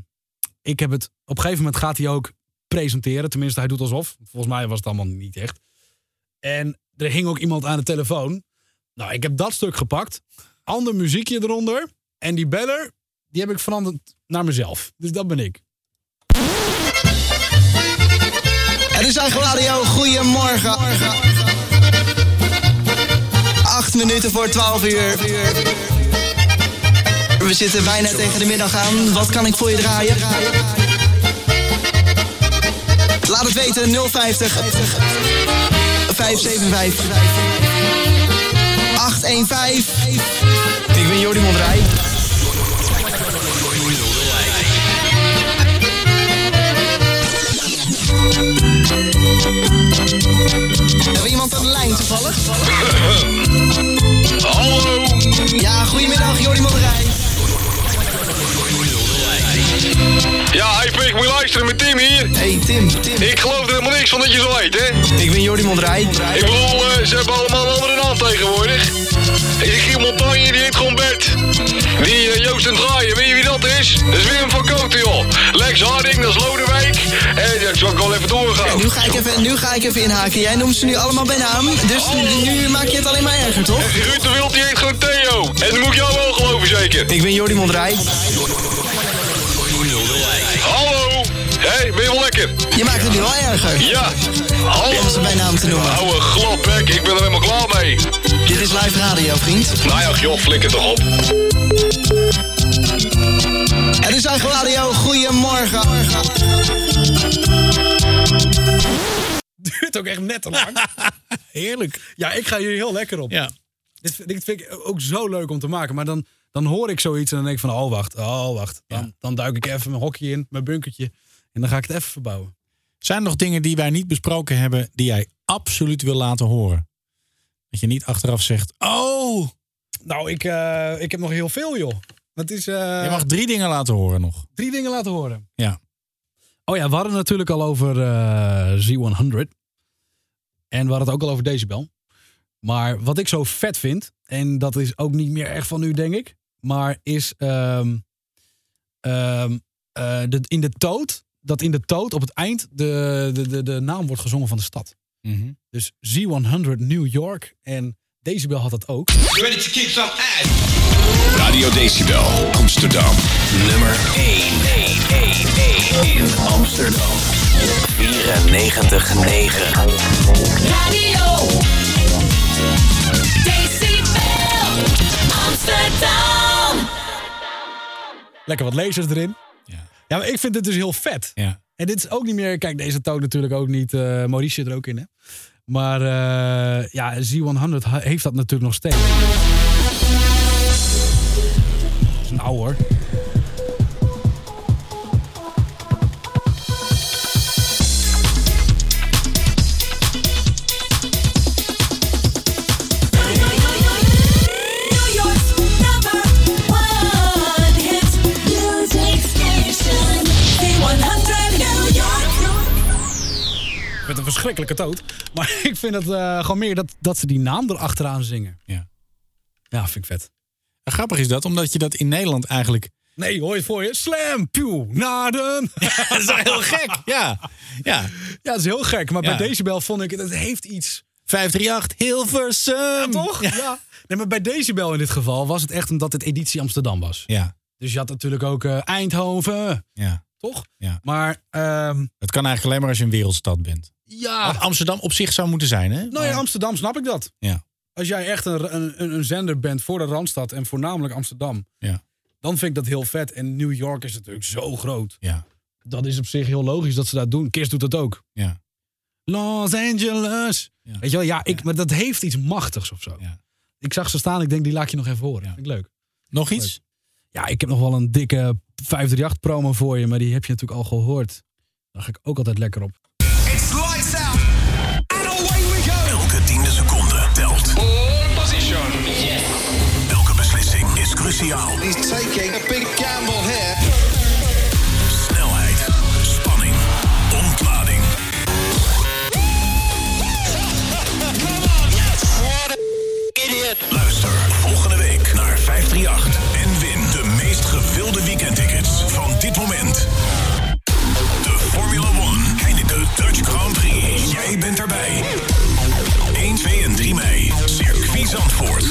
Speaker 4: ik heb het. Op een gegeven moment gaat hij ook presenteren. Tenminste, hij doet alsof. Volgens mij was het allemaal niet echt. En er hing ook iemand aan de telefoon. Nou, ik heb dat stuk gepakt. Ander muziekje eronder. En die beller, die heb ik veranderd naar mezelf. Dus dat ben ik.
Speaker 11: Het is eigen radio. Goedemorgen. Acht minuten voor 12 uur. We zitten bijna tegen de middag aan. Wat kan ik voor je draaien? Laat het weten 050 575 815. Ik ben Jordi Mondrij. Hebben we iemand aan de lijn toevallig? Hallo. Ja, goedemiddag Jordi Modderij.
Speaker 18: Ja, hey Pik, moet je luisteren met Tim hier.
Speaker 11: Hey Tim, Tim.
Speaker 18: Ik geloof er helemaal niks van dat je zo heet, hè?
Speaker 11: Ik ben Jordi Mondrij.
Speaker 18: Ik bedoel, eh, ze hebben allemaal een andere naam tegenwoordig. Die Giel Montagne, die heet gewoon Bert. Die eh, Joost en Draaien, weet je wie dat is? Dat is Willem van Koten, joh. Lex Harding, dat is Lodewijk. En ja, ik zal ik wel even doorgaan.
Speaker 11: Nu ga, ik even, nu ga ik even inhaken. Jij noemt ze nu allemaal bij naam. Dus nu maak je het alleen maar erger, toch?
Speaker 18: Ruud de Wild, die heet gewoon Theo. En dat moet ik jou wel geloven, zeker.
Speaker 11: Ik ben Jordi Mondrij.
Speaker 18: Hallo! Hé, hey, ben je wel lekker?
Speaker 11: Je maakt het nu al erger.
Speaker 18: Ja. Hallo.
Speaker 11: Om ze bij naam te noemen.
Speaker 18: Oude glapbek, ik ben er helemaal klaar mee.
Speaker 11: Dit is live radio, vriend.
Speaker 18: Nou ja, joh, flikker toch op.
Speaker 11: Het is eigen radio. Goedemorgen.
Speaker 4: duurt ook echt net te lang. Heerlijk. Ja, ik ga hier heel lekker op.
Speaker 3: Ja.
Speaker 4: Dit, vind- dit vind ik ook zo leuk om te maken. Maar dan, dan hoor ik zoiets en dan denk ik van, oh wacht, oh wacht. Dan, dan duik ik even mijn hokje in, mijn bunkertje. En dan ga ik het even verbouwen.
Speaker 3: Zijn er nog dingen die wij niet besproken hebben die jij absoluut wil laten horen? Dat je niet achteraf zegt,
Speaker 4: Oh! Nou, ik, eh, ik heb nog heel veel, joh. Het is, eh,
Speaker 3: je mag drie dingen laten horen nog.
Speaker 4: drie dingen laten horen.
Speaker 3: Ja.
Speaker 4: Oh ja, we hadden het natuurlijk al over eh, Z100. En we hadden het ook al over Decibel. Maar wat ik zo vet vind, en dat is ook niet meer echt van nu, denk ik. Maar is ehm, ehm, eh, de, in de toot, dat in de toot op het eind de, de, de, de naam wordt gezongen van de stad. Dus Z100 New York en Decibel had dat ook.
Speaker 7: ready to kick some ass?
Speaker 8: Radio Decibel, Amsterdam.
Speaker 2: Nummer 1, 1, 1, 1 in Amsterdam. 94, 9.
Speaker 13: Radio Decibel Amsterdam.
Speaker 4: Lekker wat lasers erin. Ja, maar ik vind het dus heel vet.
Speaker 3: Ja. En dit is ook niet meer. Kijk, deze toon natuurlijk ook niet. eh Maurice zit er ook in, hè? Maar eh, ja, Z100 ha- heeft dat natuurlijk nog steeds. Dat is een ouwe Nou, hoor. Met een verschrikkelijke toot. Maar ik vind het eh, gewoon meer dat, dat ze die naam erachteraan zingen.
Speaker 4: Ja.
Speaker 3: Ja, vind ik vet.
Speaker 4: grappig is dat, omdat je dat in Nederland eigenlijk...
Speaker 3: Nee, hoor je het voor je? Slam, pew, naden.
Speaker 4: dat is wel heel Oh, gek. Ja, ja.
Speaker 3: Ja, dat is heel gek. Maar
Speaker 4: Ja.
Speaker 3: bij Decibel vond ik, dat heeft iets.
Speaker 4: 538 Hilversum. Ja,
Speaker 3: toch? Ja. Nee, maar bij Decibel in dit geval was het echt omdat het editie Amsterdam was.
Speaker 4: Ja,
Speaker 3: Dus je had natuurlijk ook eh, Eindhoven,
Speaker 4: ja.
Speaker 3: toch?
Speaker 4: Ja.
Speaker 3: Maar, ehm,
Speaker 4: Het kan eigenlijk alleen maar als je een wereldstad bent.
Speaker 3: ja.
Speaker 4: Wat Amsterdam op zich zou moeten zijn, hè?
Speaker 3: Nou ja, Amsterdam snap ik dat.
Speaker 4: Ja.
Speaker 3: Als jij echt een, een, een- een zender bent voor de Randstad en voornamelijk Amsterdam,
Speaker 4: Ja.
Speaker 3: dan vind ik dat heel vet. En New York is natuurlijk zo groot.
Speaker 4: Ja.
Speaker 3: Dat is op zich heel logisch dat ze dat doen. Kiss doet dat ook.
Speaker 4: Ja.
Speaker 3: Los Angeles. Weet je wel, ja, ik, maar dat heeft iets machtigs of zo.
Speaker 4: Ja.
Speaker 3: Ik zag ze staan, ik denk die laat ik je nog even horen. Vind ik leuk.
Speaker 4: Nog iets?
Speaker 3: Ja, ik heb nog wel een dikke 538 promo voor je, maar die heb je natuurlijk al gehoord. Daar ga ik ook altijd lekker op.
Speaker 2: It's lights out. And away we go. Elke tiende seconde telt. All position. Yes. Elke beslissing is cruciaal.
Speaker 7: He's taking a big gamble here.
Speaker 2: Snelheid, spanning, ontlading. Luister volgende week naar 538 en win de meest gewilde weekendtickets van dit moment. De Formula One Heineken Dutch Grand Prix. Jij bent erbij. 1, 2 en 3 mei. Circuit Zandvoort.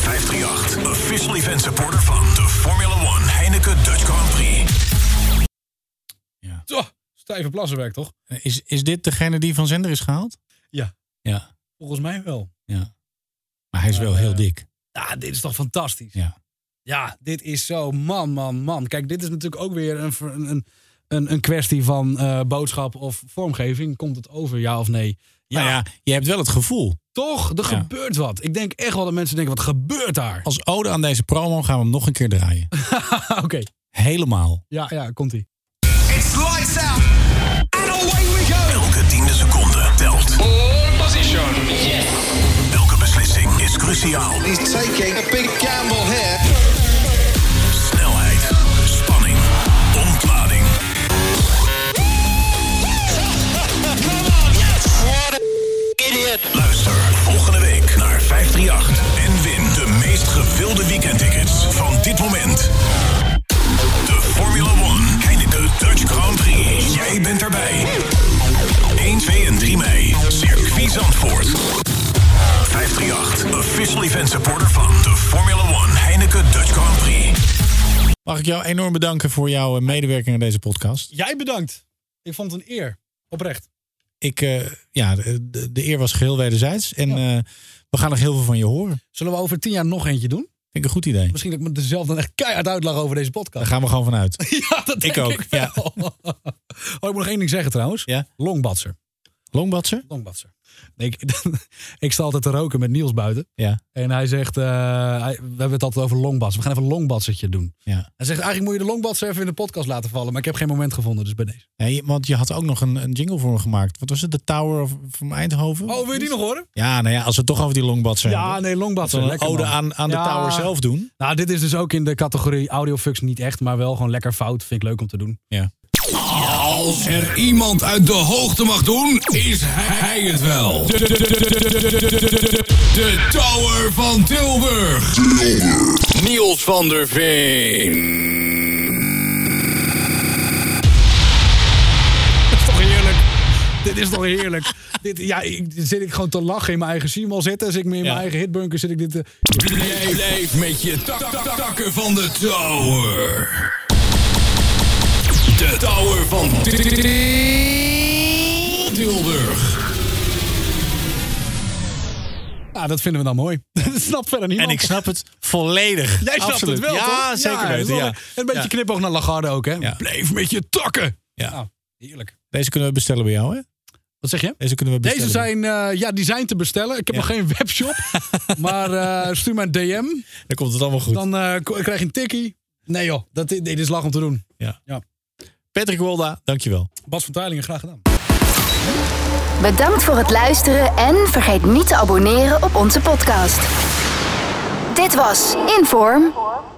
Speaker 2: 538, official event supporter van de Formula One Heineken Dutch Grand Prix.
Speaker 3: Zo, stijve plassenwerk toch?
Speaker 4: Is, is dit degene die van zender is gehaald?
Speaker 3: Ja.
Speaker 4: Ja.
Speaker 3: Volgens mij wel.
Speaker 4: Ja. Maar hij is wel heel dik.
Speaker 3: Ja, dit is toch fantastisch.
Speaker 4: Ja.
Speaker 3: Ja, dit is zo man, man, man. Kijk, dit is natuurlijk ook weer een, ver- een, een, een kwestie van eh, boodschap of vormgeving. Komt het over, ja of nee? Ja,
Speaker 4: Nou ja, je hebt wel het gevoel.
Speaker 3: toch? Er
Speaker 4: Ja.
Speaker 3: gebeurt wat. Ik denk echt wel dat mensen denken, wat gebeurt daar?
Speaker 4: Als ode aan deze promo gaan we hem nog een keer draaien.
Speaker 3: Oké,
Speaker 4: Helemaal.
Speaker 3: ja, ja, komt-ie.
Speaker 2: It's lights out. And away we go. Elke tiende seconde telt. All position. Yes. Elke beslissing is cruciaal.
Speaker 7: He's taking a big gamble here.
Speaker 2: Snelheid, spanning, ontlading. Luister volgende week naar 538 en win de meest gewilde weekendtickets van dit moment. De Formula One Heineken Dutch Grand Prix. Jij bent erbij. 1, 2 en 3 mei. Circuit Zandvoort. 538, official event supporter van de Formula One Heineken Dutch Grand Prix.
Speaker 4: Mag ik jou enorm bedanken voor jouw eh, medewerking aan deze podcast.
Speaker 3: Jij bedankt. Ik vond het een eer. Oprecht.
Speaker 4: Ik, eh, ja, de, de- de eer was geheel wederzijds. En eh, we gaan nog heel veel van je horen.
Speaker 3: Zullen we over tien jaar nog eentje doen?
Speaker 4: Vind ik een goed idee.
Speaker 3: Misschien dat ik me er zelf dan echt keihard uitlag over deze podcast.
Speaker 4: Daar gaan we gewoon vanuit.
Speaker 3: Ja, dat denk
Speaker 4: Ik
Speaker 3: ik
Speaker 4: ook,
Speaker 3: ook. wel. Oh, ik moet nog één ding zeggen trouwens.
Speaker 4: Ja?
Speaker 3: Longbadser.
Speaker 4: Longbadser?
Speaker 3: Longbadser. Nee, ik, ik sta altijd te roken met Niels buiten.
Speaker 4: Ja.
Speaker 3: En hij zegt, eh, hij- we hebben het altijd over longbats. We gaan even een longbadsertje doen.
Speaker 4: ja.
Speaker 3: Hij zegt, eigenlijk moet je de longbadser even in de podcast laten vallen. Maar ik heb geen moment gevonden, dus bij deze.
Speaker 4: Nee, want je had ook nog een, een jingle voor me gemaakt. Wat was het? De Tower of, van Eindhoven?
Speaker 3: Oh, wil je die nog horen?
Speaker 4: Ja, nou ja, als we het toch over die longbadser
Speaker 3: Ja,
Speaker 4: hebben.
Speaker 3: nee,
Speaker 4: Dat we
Speaker 3: longbadser.
Speaker 4: een ode aan, aan de Tower zelf doen.
Speaker 3: Nou, dit is dus ook in de categorie audiofux niet echt, maar wel gewoon lekker fout. Vind ik leuk om te doen.
Speaker 4: Ja.
Speaker 15: Als er iemand uit de hoogte mag doen, is hij het wel. De, de- de- de- de- de- de- de- de- de- de- de Tower van Tilburg. Niels van der Veen.
Speaker 3: Dit is toch heerlijk. Dit is toch heerlijk. dit, ja, ik, dit zit ik gewoon te lachen in mijn eigen Simon zitten. Als ik me in mijn eigen hitbunker zit ik dit... te-
Speaker 15: Blijf, blijf met je tak- tak- tak- takken van de Tower. De Tower van Ti- Ti- Ti- Tilburg.
Speaker 3: Ja, Nou, dat vinden we dan mooi. Dat snapt verder niemand.
Speaker 4: En ik snap het volledig.
Speaker 3: Jij snapt
Speaker 4: Absoluut.
Speaker 3: het wel,
Speaker 4: Ja,
Speaker 3: toch?
Speaker 4: zeker
Speaker 3: dat is
Speaker 4: weten.
Speaker 3: wel
Speaker 4: Ja.
Speaker 3: een- Een beetje
Speaker 4: Ja.
Speaker 3: knipoog naar Lagarde ook, hè? Blijf met je takken.
Speaker 4: Ja.
Speaker 3: Ah, heerlijk.
Speaker 4: Deze kunnen we bestellen bij jou, hè?
Speaker 3: Wat zeg je?
Speaker 4: Deze kunnen we bestellen.
Speaker 3: Deze zijn, eh, ja, die zijn te bestellen. Ik heb
Speaker 4: Ja.
Speaker 3: nog geen webshop. maar eh, stuur mij een DM.
Speaker 4: Dan komt het allemaal goed.
Speaker 3: Dan eh, ko- krijg je een tikkie. Nee joh, dat, nee, dit is lach om te doen.
Speaker 4: Ja.
Speaker 3: ja.
Speaker 4: Patrick Wolda, dankjewel.
Speaker 3: Bas van Tuilingen, graag gedaan.
Speaker 1: Bedankt voor het luisteren en vergeet niet te abonneren op onze podcast. Dit was Inform.